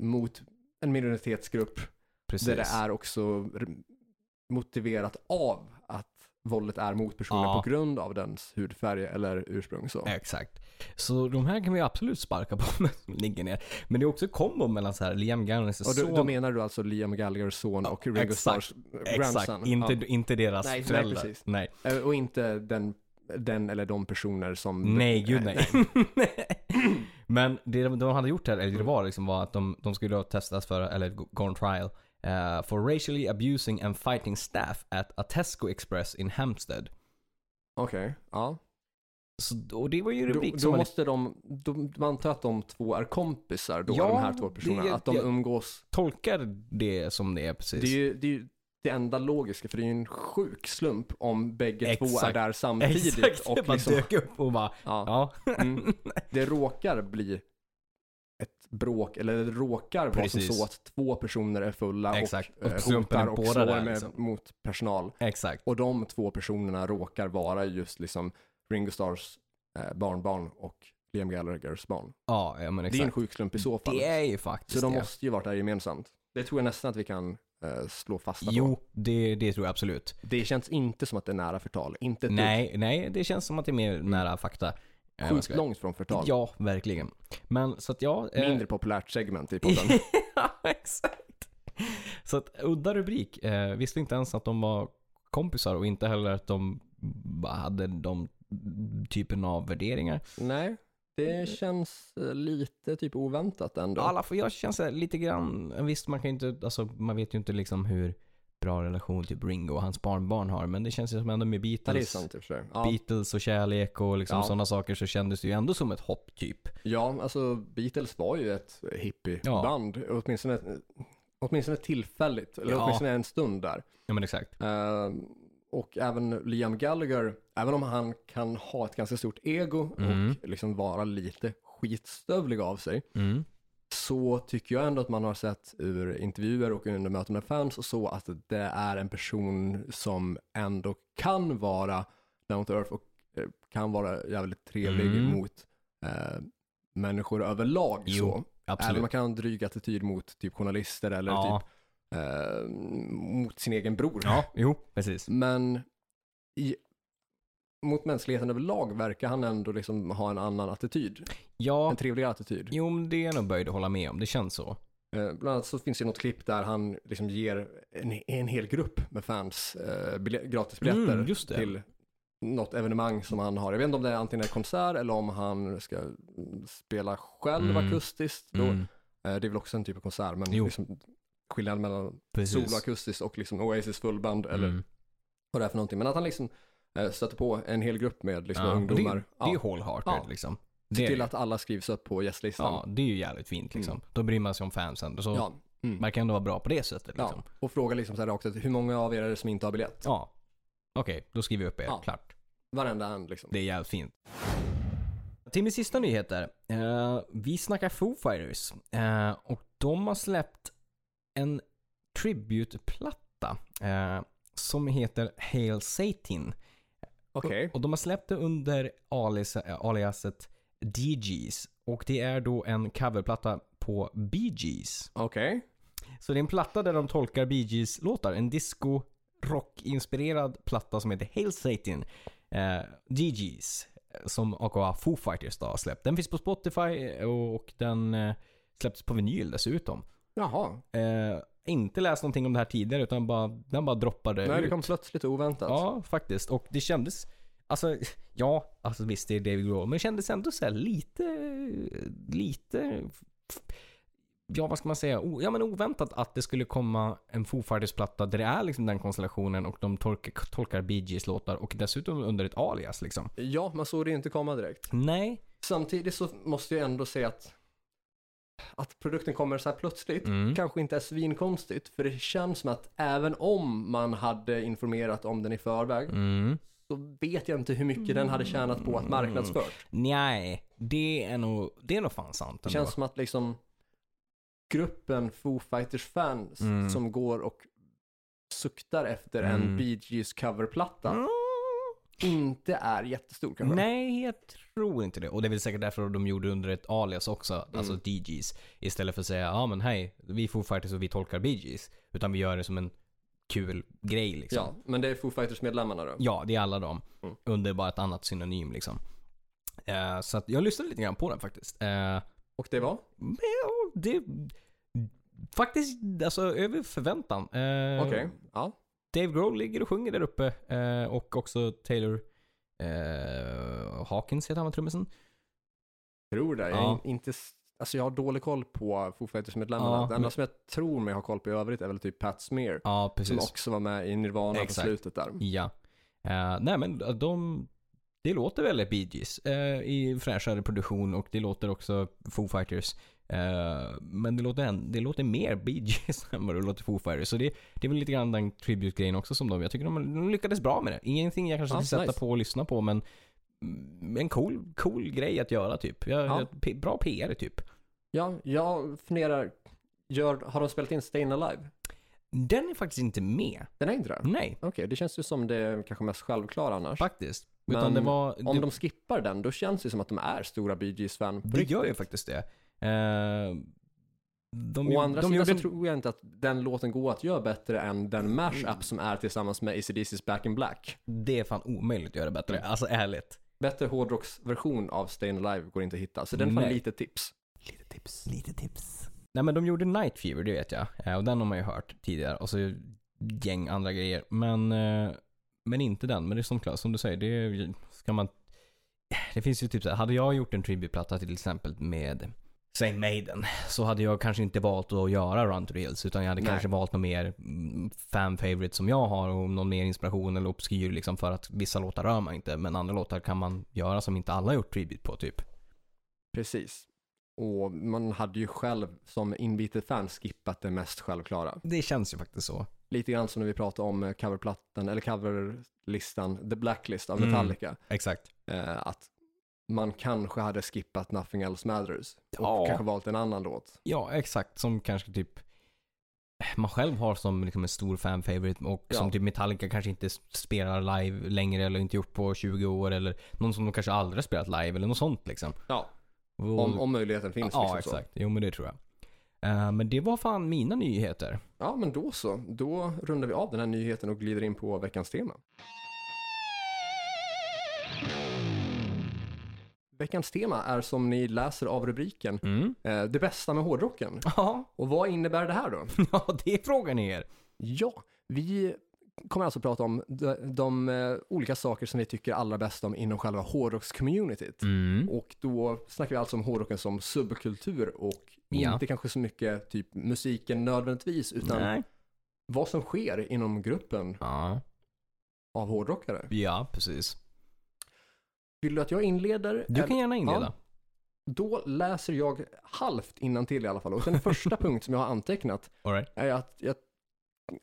[SPEAKER 2] mot en minoritetsgrupp
[SPEAKER 1] Precis.
[SPEAKER 2] där det är också r- motiverat av att våldet är mot personen
[SPEAKER 1] Ja.
[SPEAKER 2] på grund av dens hudfärg eller ursprung. Så.
[SPEAKER 1] Exakt. Så de här kan vi absolut sparka på men som ligger ner. Men det är också kombo mellan så här Liam Gallaghers
[SPEAKER 2] Och då,
[SPEAKER 1] son.
[SPEAKER 2] då menar du alltså Liam Gallaghers son och Ringo
[SPEAKER 1] exakt,
[SPEAKER 2] Starrs
[SPEAKER 1] Exakt,
[SPEAKER 2] grandson?
[SPEAKER 1] inte, inte deras
[SPEAKER 2] Nej, nej,
[SPEAKER 1] föräldrar. Nej,
[SPEAKER 2] precis.
[SPEAKER 1] nej.
[SPEAKER 2] Ja. Eh, Och inte den, den eller de personer som...
[SPEAKER 1] gud nej. men det de de hade gjort här, eller det var liksom, var att de, de skulle då testas för, eller go- go on trial, eh, for racially abusing and fighting staff at a Tesco Express in Hampstead.
[SPEAKER 2] Okej, ja.
[SPEAKER 1] Så, och det var ju en
[SPEAKER 2] Då,
[SPEAKER 1] rubrik som
[SPEAKER 2] då
[SPEAKER 1] var lite
[SPEAKER 2] måste de, de, man antar att de två är kompisar då,
[SPEAKER 1] Ja,
[SPEAKER 2] de här två personerna.
[SPEAKER 1] det-
[SPEAKER 2] att de
[SPEAKER 1] jag-
[SPEAKER 2] umgås
[SPEAKER 1] tolkar det som det är precis.
[SPEAKER 2] Det är, ju, det är ju det enda logiska, för det är ju en sjuk slump om bägge två är
[SPEAKER 1] Exakt.
[SPEAKER 2] där samtidigt.
[SPEAKER 1] Exakt, det
[SPEAKER 2] och
[SPEAKER 1] bara
[SPEAKER 2] liksom,
[SPEAKER 1] dök upp och bara,
[SPEAKER 2] ja,
[SPEAKER 1] ja.
[SPEAKER 2] mm, det råkar bli ett bråk, eller det råkar vara som
[SPEAKER 1] Precis.
[SPEAKER 2] så att två personer är fulla
[SPEAKER 1] Exakt.
[SPEAKER 2] och, eh,
[SPEAKER 1] Och slumpen är
[SPEAKER 2] hotar och
[SPEAKER 1] båda
[SPEAKER 2] slår
[SPEAKER 1] där,
[SPEAKER 2] med,
[SPEAKER 1] liksom.
[SPEAKER 2] mot personal.
[SPEAKER 1] Exakt.
[SPEAKER 2] Och de två personerna råkar vara just liksom Ringo Stars eh, barnbarn och Liam Gallaghers barn.
[SPEAKER 1] Ja, ja men exakt.
[SPEAKER 2] Det är en sjuk slump i så fall.
[SPEAKER 1] Det är ju faktiskt
[SPEAKER 2] så de
[SPEAKER 1] det.
[SPEAKER 2] måste ju varit där gemensamt. Det tror jag nästan att vi kan eh, slå fasta på.
[SPEAKER 1] Jo, det, det tror jag absolut.
[SPEAKER 2] Det känns inte som att det är nära förtal. Inte ett dugg.
[SPEAKER 1] Nej, nej, det känns som att det är mer nära fakta. Eh, vad
[SPEAKER 2] Sjukt
[SPEAKER 1] ska jag-
[SPEAKER 2] långt från förtal.
[SPEAKER 1] Ja, verkligen. Men så att ja... eh,
[SPEAKER 2] Mindre populärt segment i podden.
[SPEAKER 1] ja, exakt. Så att udda rubrik. Eh, visste inte ens att de var kompisar och inte heller att de bara hade de typen av värderingar.
[SPEAKER 2] Nej,
[SPEAKER 1] Mm.
[SPEAKER 2] det känns eh, lite typ oväntat ändå.
[SPEAKER 1] Alla, för jag känns så här lite grann, visst man kan ju inte, alltså man vet ju inte liksom hur bra relation typ Ringo och hans barnbarn har, men det känns ju som ändå med
[SPEAKER 2] Ja, det är
[SPEAKER 1] Beatles.
[SPEAKER 2] sant i och för sig. Ja,
[SPEAKER 1] Beatles och kärlek och liksom
[SPEAKER 2] Ja.
[SPEAKER 1] sådana saker så kändes det ju ändå som ett hopp typ.
[SPEAKER 2] ja, alltså Beatles var ju ett hippieband. Åtminstone, eh, åtminstone tillfälligt, eller
[SPEAKER 1] Ja.
[SPEAKER 2] åtminstone en stund där.
[SPEAKER 1] Ja men exakt.
[SPEAKER 2] Eh, och även Liam Gallagher, även om han kan ha ett ganska stort ego
[SPEAKER 1] Mm.
[SPEAKER 2] och liksom vara lite skitstövlig av sig,
[SPEAKER 1] Mm.
[SPEAKER 2] så tycker jag ändå att man har sett ur intervjuer och under möten med fans och så att det är en person som ändå kan vara down to earth och eh, kan vara jävligt trevlig
[SPEAKER 1] Mm.
[SPEAKER 2] mot eh, människor överlag.
[SPEAKER 1] Jo,
[SPEAKER 2] så. Även om
[SPEAKER 1] Absolut.
[SPEAKER 2] man kan ha en dryg attityd mot typ journalister eller
[SPEAKER 1] ja.
[SPEAKER 2] typ, eh, mot sin egen bror.
[SPEAKER 1] ja, jo precis.
[SPEAKER 2] Men i, mot mänskligheten överlag verkar han ändå liksom ha en annan attityd.
[SPEAKER 1] Ja,
[SPEAKER 2] En trevligare attityd.
[SPEAKER 1] jo men det är jag nog böjd att hålla med om. Det känns så.
[SPEAKER 2] Eh, Bland annat så finns det något klipp där han liksom ger en, en hel grupp med fans eh, bilje- gratisbiljetter
[SPEAKER 1] Mm, just det.
[SPEAKER 2] till något evenemang som han har. Jag vet inte om det är antingen en konsert eller om han ska mm, spela själv
[SPEAKER 1] Mm.
[SPEAKER 2] akustiskt. Då,
[SPEAKER 1] Mm,
[SPEAKER 2] eh, det är väl också en typ av konsert, men
[SPEAKER 1] Jo.
[SPEAKER 2] liksom skillnaden mellan
[SPEAKER 1] precis.
[SPEAKER 2] soloakustiskt och liksom Oasis fullband eller
[SPEAKER 1] Mm.
[SPEAKER 2] vad det är för någonting. Men att han liksom eh, stöter på en hel grupp med liksom
[SPEAKER 1] Ja, det,
[SPEAKER 2] ungdomar.
[SPEAKER 1] det
[SPEAKER 2] Ja,
[SPEAKER 1] är ju wholehearted
[SPEAKER 2] Ja.
[SPEAKER 1] liksom.
[SPEAKER 2] se
[SPEAKER 1] Det,
[SPEAKER 2] till
[SPEAKER 1] är-
[SPEAKER 2] att alla skrivs upp på gästlistan.
[SPEAKER 1] ja, det är ju jävligt fint liksom. Då bryr man sig om fansen. Så
[SPEAKER 2] Ja, mm.
[SPEAKER 1] man kan ändå vara bra på det sättet liksom.
[SPEAKER 2] Ja,
[SPEAKER 1] Ja.
[SPEAKER 2] och fråga liksom så här rakt ut, hur många av er är det som inte har biljett?
[SPEAKER 1] Okej, då skriver vi upp er.
[SPEAKER 2] Ja.
[SPEAKER 1] Klart.
[SPEAKER 2] Varenda en liksom.
[SPEAKER 1] Det är jävligt fint. Till min sista nyhet där. Eh, vi snackar Foo Fighters. Eh, och de har släppt en tributplatta eh, som heter Hail Satan.
[SPEAKER 2] Okej.
[SPEAKER 1] Och, och de har släppt det under alias, eh, aliaset DGs. Och det är då en coverplatta på Bee Gees.
[SPEAKER 2] Okej.
[SPEAKER 1] Så det är en platta där de tolkar Bee Gees låtar. En disco rock-inspirerad platta som heter Hail Satan. Eh, DGs. Som aka Foo Fighters då har släppt. Den finns på eh, Spotify och den eh, släpptes på vinyl dessutom.
[SPEAKER 2] Jaha.
[SPEAKER 1] Eh, inte läst någonting om det här tidigare utan bara, den bara droppade
[SPEAKER 2] Nej,
[SPEAKER 1] ut.
[SPEAKER 2] det kom plötsligt och oväntat.
[SPEAKER 1] Ja, faktiskt. Och det kändes... Alltså, ja, alltså visst det är David Grohl, men det kändes ändå så här lite... Lite... Ja, vad ska man säga? O, ja, men oväntat att det skulle komma en Foo Fighters-platta där det är liksom den konstellationen och de tolkar, tolkar Bee Gees låtar och dessutom under ett alias liksom.
[SPEAKER 2] ja, man såg det inte komma direkt.
[SPEAKER 1] Nej.
[SPEAKER 2] Samtidigt så måste jag ändå säga att att produkten kommer så här plötsligt
[SPEAKER 1] Mm.
[SPEAKER 2] kanske inte är svinkonstigt för det känns som att även om man hade informerat om den i förväg
[SPEAKER 1] Mm.
[SPEAKER 2] så vet jag inte hur mycket den hade tjänat på att
[SPEAKER 1] Mm.
[SPEAKER 2] marknadsfört.
[SPEAKER 1] Nej, det är nog, det är nog fan sant
[SPEAKER 2] Det
[SPEAKER 1] ändå.
[SPEAKER 2] känns som att liksom gruppen Foo Fighters fans
[SPEAKER 1] Mm.
[SPEAKER 2] som går och suktar efter
[SPEAKER 1] Mm.
[SPEAKER 2] en Bee Gees coverplatta
[SPEAKER 1] Mm.
[SPEAKER 2] inte är jättestor kanske.
[SPEAKER 1] Nej, jag tror inte det. Och det är väl säkert därför de gjorde under ett alias också, alltså
[SPEAKER 2] Mm.
[SPEAKER 1] DGs. Istället för att säga, ja men hej, vi är Foo Fighters och vi tolkar BGs. Utan vi gör det som en kul grej liksom.
[SPEAKER 2] Ja, men det är Foo Fighters medlemmarna då.
[SPEAKER 1] Ja, det är alla dem.
[SPEAKER 2] Mm.
[SPEAKER 1] Under bara ett annat synonym liksom. Eh, så att jag lyssnade lite grann på den faktiskt. Eh,
[SPEAKER 2] Och det var?
[SPEAKER 1] men ja, det... Faktiskt, alltså över förväntan. Eh,
[SPEAKER 2] Okej. Ja.
[SPEAKER 1] Dave Grohl ligger och sjunger där uppe. Eh, och också Taylor eh, Hawkins heter han var trummisen.
[SPEAKER 2] Tror
[SPEAKER 1] Ja.
[SPEAKER 2] det. Jag, är inte, s- alltså jag har dålig koll på Foo Fighters-medlemmarna.
[SPEAKER 1] Ja,
[SPEAKER 2] det enda
[SPEAKER 1] men-
[SPEAKER 2] som jag tror mig har koll på i övrigt är väl typ Pat Smear.
[SPEAKER 1] Ja,
[SPEAKER 2] Som
[SPEAKER 1] precis.
[SPEAKER 2] också var med i Nirvana
[SPEAKER 1] Exakt.
[SPEAKER 2] på slutet där.
[SPEAKER 1] Ja. Eh, nej men de, det låter väldigt Bee Gees eh, i fräschare produktion och det låter också Foo Fighters. Eh, men det låter, än, det låter mer Bee Gees än vad det låter Foo Fighters. Så det, det är väl lite grann den tribute-grejen också som de Jag tycker de, de lyckades bra med det. Ingenting jag kanske
[SPEAKER 2] Ja,
[SPEAKER 1] skulle sätta
[SPEAKER 2] nice.
[SPEAKER 1] på och lyssna på men mm, en cool, cool grej att göra typ. Jag,
[SPEAKER 2] Ja.
[SPEAKER 1] jag- p- bra PR typ.
[SPEAKER 2] Ja, jag funderar. Gör, har de spelat in Stayin' Alive?
[SPEAKER 1] Den är faktiskt inte med.
[SPEAKER 2] Den är inte det? Okej,
[SPEAKER 1] Nej,
[SPEAKER 2] det känns ju som det kanske mest självklara annars.
[SPEAKER 1] faktiskt. Utan
[SPEAKER 2] Men
[SPEAKER 1] det var,
[SPEAKER 2] Om
[SPEAKER 1] det,
[SPEAKER 2] de skippar den, då känns det som att de är stora Bee Gees-fan. på
[SPEAKER 1] Det gör ju
[SPEAKER 2] riktigt.
[SPEAKER 1] faktiskt det. Eh, de,
[SPEAKER 2] Å
[SPEAKER 1] gjorde-
[SPEAKER 2] andra
[SPEAKER 1] de
[SPEAKER 2] sidan så
[SPEAKER 1] gjorde-
[SPEAKER 2] tror jag inte att den låten går att göra bättre än den mashup som är tillsammans med ACDC's Back in Black.
[SPEAKER 1] Det är fan omöjligt att göra bättre.
[SPEAKER 2] Mm.
[SPEAKER 1] Alltså ärligt.
[SPEAKER 2] Bättre hårdrocksversion av Stayin' Alive går inte att hitta, så den får
[SPEAKER 1] Nej.
[SPEAKER 2] lite tips.
[SPEAKER 1] Lite tips. Lite tips. Nej men de gjorde Night Fever, det vet jag. Eh, Och den har man ju hört tidigare. Och så gäng andra grejer. Men, eh, men inte den. Men det är som, Claes- som du säger, det är- ska man... Det finns ju typ så här, hade jag gjort en tributeplatta till exempel med Saint Maiden så hade jag kanske inte valt att göra Run to the Hills utan jag hade
[SPEAKER 2] Nej.
[SPEAKER 1] kanske valt någon mer mm, fan favorite som jag har och någon mer inspiration eller obskyr liksom för att vissa låtar rör man inte men andra låtar kan man göra som inte alla gjort tribute på typ.
[SPEAKER 2] Precis. Och man hade ju själv som inbitet fan skippat det mest självklara.
[SPEAKER 1] Det känns ju faktiskt så.
[SPEAKER 2] Lite grann som när vi pratade om eh, coverplattan, eller coverlistan, The Blacklist av
[SPEAKER 1] Mm.
[SPEAKER 2] Metallica.
[SPEAKER 1] Exakt.
[SPEAKER 2] Eh, att man kanske hade skippat Nothing Else Matters och
[SPEAKER 1] Ja.
[SPEAKER 2] kanske valt en annan låt.
[SPEAKER 1] Ja, exakt. Som kanske typ man själv har som liksom en stor fan favorite och
[SPEAKER 2] Ja.
[SPEAKER 1] som typ Metallica kanske inte spelar live längre eller inte gjort på 20 år eller någon som de kanske aldrig har spelat live eller något sånt liksom.
[SPEAKER 2] Ja.
[SPEAKER 1] Och-
[SPEAKER 2] Om, om möjligheten finns.
[SPEAKER 1] Ja,
[SPEAKER 2] liksom Så.
[SPEAKER 1] exakt. Jo, men det tror jag. Eh, men det var fan mina nyheter.
[SPEAKER 2] Ja, men då så. Då rundar vi av den här nyheten och glider in på veckans tema. Veckans tema är som ni läser av rubriken,
[SPEAKER 1] Mm.
[SPEAKER 2] eh, det bästa med hårdrocken.
[SPEAKER 1] Ja,
[SPEAKER 2] Och vad innebär det här då?
[SPEAKER 1] ja, det är frågan er.
[SPEAKER 2] Ja, vi kommer alltså prata om de, de eh, olika saker som vi tycker allra bäst om inom själva hårdrocks-communityt.
[SPEAKER 1] Mm.
[SPEAKER 2] Och då snackar vi alltså om hårdrocken som subkultur och
[SPEAKER 1] Ja.
[SPEAKER 2] inte kanske så mycket typ musiken nödvändigtvis, utan
[SPEAKER 1] Nej.
[SPEAKER 2] vad som sker inom gruppen
[SPEAKER 1] Ja.
[SPEAKER 2] av hårdrockare.
[SPEAKER 1] ja, precis.
[SPEAKER 2] Vill du att jag inleder?
[SPEAKER 1] Du kan
[SPEAKER 2] Eller-
[SPEAKER 1] gärna inleda.
[SPEAKER 2] Då läser jag halvt till i alla fall. Och den första punkt som jag har antecknat
[SPEAKER 1] All right.
[SPEAKER 2] är att jag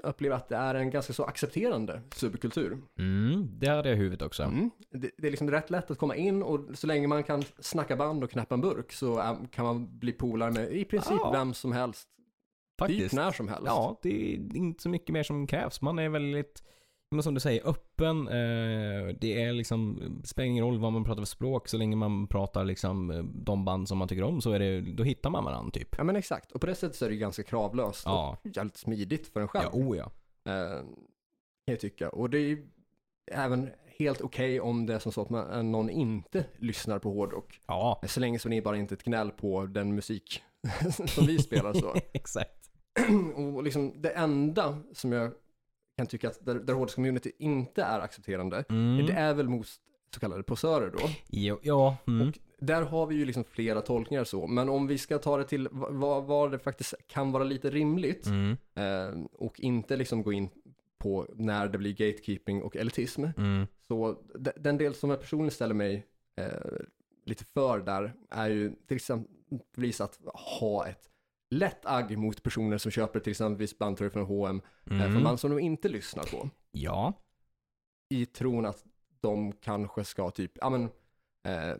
[SPEAKER 2] upplever att det är en ganska så accepterande subkultur.
[SPEAKER 1] mm. Det hade jag i huvudet också.
[SPEAKER 2] Mm. Det, det är liksom rätt lätt att komma in och så länge man kan snacka band och knäppa en burk så äm, kan man bli polare med i princip
[SPEAKER 1] Ja.
[SPEAKER 2] vem som helst,
[SPEAKER 1] Faktiskt.
[SPEAKER 2] typ när som helst.
[SPEAKER 1] Ja, Alltså, det är inte så mycket mer som krävs. Man är väldigt, men som du säger, öppen. Eh, det är liksom, spelar ingen roll vad man pratar för språk. Så länge man pratar liksom eh, de band som man tycker om så är det, då hittar man varandra typ.
[SPEAKER 2] Ja men exakt, och på det sättet så är det ju ganska kravlöst
[SPEAKER 1] Ja.
[SPEAKER 2] och jävligt smidigt för en själv.
[SPEAKER 1] Ja, oh ja.
[SPEAKER 2] Eh, kan jag tycka. Och det är ju även helt okej om det är som så att man, eh, någon inte lyssnar på hårdrock. Eh,
[SPEAKER 1] Ja,
[SPEAKER 2] Så länge som ni bara inte är ett gnäll på den musik som vi spelar så.
[SPEAKER 1] exakt.
[SPEAKER 2] och liksom det enda som jag kan tycka att där, där hårdest community inte är accepterande,
[SPEAKER 1] Mm.
[SPEAKER 2] det är väl mot så kallade posörer då.
[SPEAKER 1] Jo, ja. Mm.
[SPEAKER 2] Där har vi ju liksom flera tolkningar så, men om vi ska ta det till va- va- vad det faktiskt kan vara lite rimligt
[SPEAKER 1] Mm.
[SPEAKER 2] eh, och inte liksom gå in på när det blir gatekeeping och elitism.
[SPEAKER 1] Mm.
[SPEAKER 2] Så d- den del som jag personligen ställer mig eh, lite för där är ju till exempelvis att ha ett lätt agg mot personer som köper till exempelvis bandtröjor från H&M eh, från
[SPEAKER 1] Mm.
[SPEAKER 2] band som de inte lyssnar på
[SPEAKER 1] Ja.
[SPEAKER 2] i tron att de kanske ska typ, ja men, eh,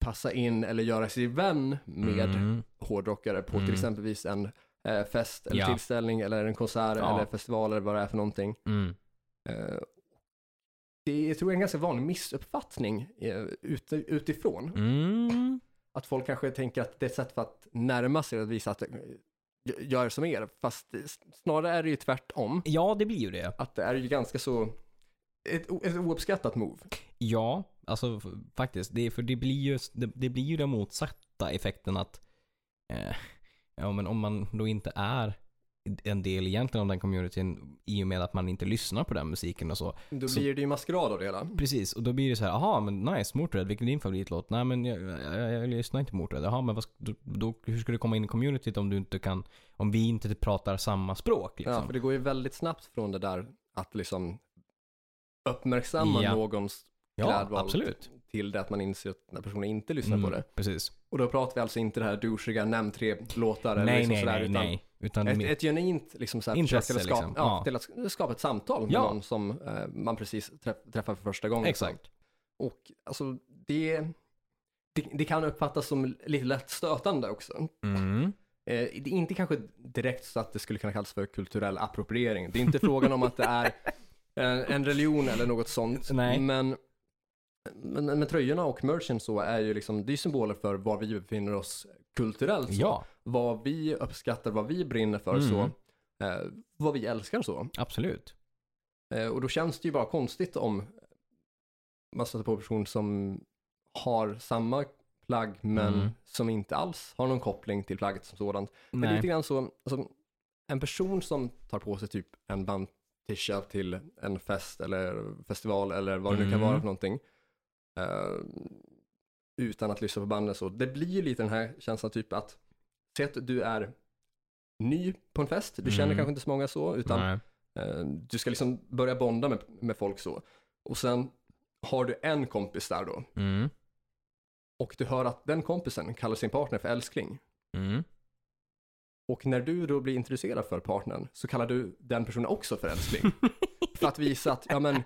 [SPEAKER 2] passa in eller göra sig vän med
[SPEAKER 1] Mm.
[SPEAKER 2] hårdrockare på
[SPEAKER 1] Mm.
[SPEAKER 2] till exempelvis en eh, fest eller
[SPEAKER 1] Ja.
[SPEAKER 2] tillställning eller en konsert
[SPEAKER 1] Ja.
[SPEAKER 2] eller festival eller vad det är för någonting.
[SPEAKER 1] Mm.
[SPEAKER 2] Eh, Det är, tror jag, en ganska vanlig missuppfattning eh, ute, utifrån.
[SPEAKER 1] Mm.
[SPEAKER 2] Att folk kanske tänker att det är ett sätt för att närma sig och visa att eh, jag jag är som er. Fast det- snarare är det ju tvärtom.
[SPEAKER 1] Ja, det blir ju det.
[SPEAKER 2] Att det är ju ganska så, ett, o- ett ouppskattat move.
[SPEAKER 1] Ja, alltså f- faktiskt. Det, är- för det blir, ju, det, det blir ju den motsatta effekten att eh, ja, men om man då inte är en del egentligen av den communityn i och med att man inte lyssnar på den musiken och så.
[SPEAKER 2] Då
[SPEAKER 1] Så-
[SPEAKER 2] blir det ju maskerad av det hela.
[SPEAKER 1] Precis, och då blir det så här, aha men nice, Motörhead, vilken är din favoritlåt? Nej men jag, jag, jag lyssnar inte på Motörhead. Jaha men vad, sk- då, då, hur ska du komma in i communityt om du inte kan, om vi inte pratar samma språk
[SPEAKER 2] Ja,
[SPEAKER 1] liksom?
[SPEAKER 2] för det går ju väldigt snabbt från det där att liksom uppmärksamma
[SPEAKER 1] Ja.
[SPEAKER 2] någons
[SPEAKER 1] Ja,
[SPEAKER 2] klädval
[SPEAKER 1] absolut.
[SPEAKER 2] till det att man inser att den här personen inte lyssnar
[SPEAKER 1] Mm.
[SPEAKER 2] på det.
[SPEAKER 1] Precis.
[SPEAKER 2] Och då pratar vi alltså inte det här douchiga, nämn tre låtar eller
[SPEAKER 1] Nej,
[SPEAKER 2] liksom
[SPEAKER 1] nej, nej,
[SPEAKER 2] sådär, utan
[SPEAKER 1] nej. Utan
[SPEAKER 2] Ett, ett genuint liksom så här, försök
[SPEAKER 1] Intresse,
[SPEAKER 2] till att skapa,
[SPEAKER 1] liksom.
[SPEAKER 2] ja,
[SPEAKER 1] Ja.
[SPEAKER 2] till att skapa ett samtal med
[SPEAKER 1] Ja.
[SPEAKER 2] någon som eh, man precis träff- träffar för första gången.
[SPEAKER 1] Exakt.
[SPEAKER 2] Och alltså det, det, det kan uppfattas som lite lätt stötande också.
[SPEAKER 1] Mm.
[SPEAKER 2] Eh, det är inte kanske direkt så att det skulle kunna kallas för kulturell appropriering. Det är inte frågan om att det är en, Eh, en religion eller något sånt.
[SPEAKER 1] Nej.
[SPEAKER 2] Men, men, men tröjorna och merchen så är ju liksom, det är symboler för var vi befinner oss kulturellt. så
[SPEAKER 1] Ja,
[SPEAKER 2] vad vi uppskattar, vad vi brinner för,
[SPEAKER 1] Mm.
[SPEAKER 2] så, eh, vad vi älskar så.
[SPEAKER 1] absolut.
[SPEAKER 2] Eh, och då känns det ju bara konstigt om man stöter på en person som har samma plagg men
[SPEAKER 1] Mm.
[SPEAKER 2] som inte alls har någon koppling till plagget som sådant. Men det är lite grann så, alltså, en person som tar på sig typ en bandtisha till en fest eller festival eller vad det nu kan
[SPEAKER 1] Mm.
[SPEAKER 2] vara för någonting. eh, utan att lyssna på bandet så. Det blir ju lite den här känslan typ att, se att du är ny på en fest, du känner
[SPEAKER 1] Mm.
[SPEAKER 2] kanske inte så många så, utan
[SPEAKER 1] Nej.
[SPEAKER 2] eh, du ska liksom börja bonda med, med folk så. Och sen har du en kompis där då,
[SPEAKER 1] Mm.
[SPEAKER 2] och du hör att den kompisen kallar sin partner för älskling.
[SPEAKER 1] Mm.
[SPEAKER 2] Och när du då blir intresserad för partnern så kallar du den personen också för älskling. för att visa att, ja men,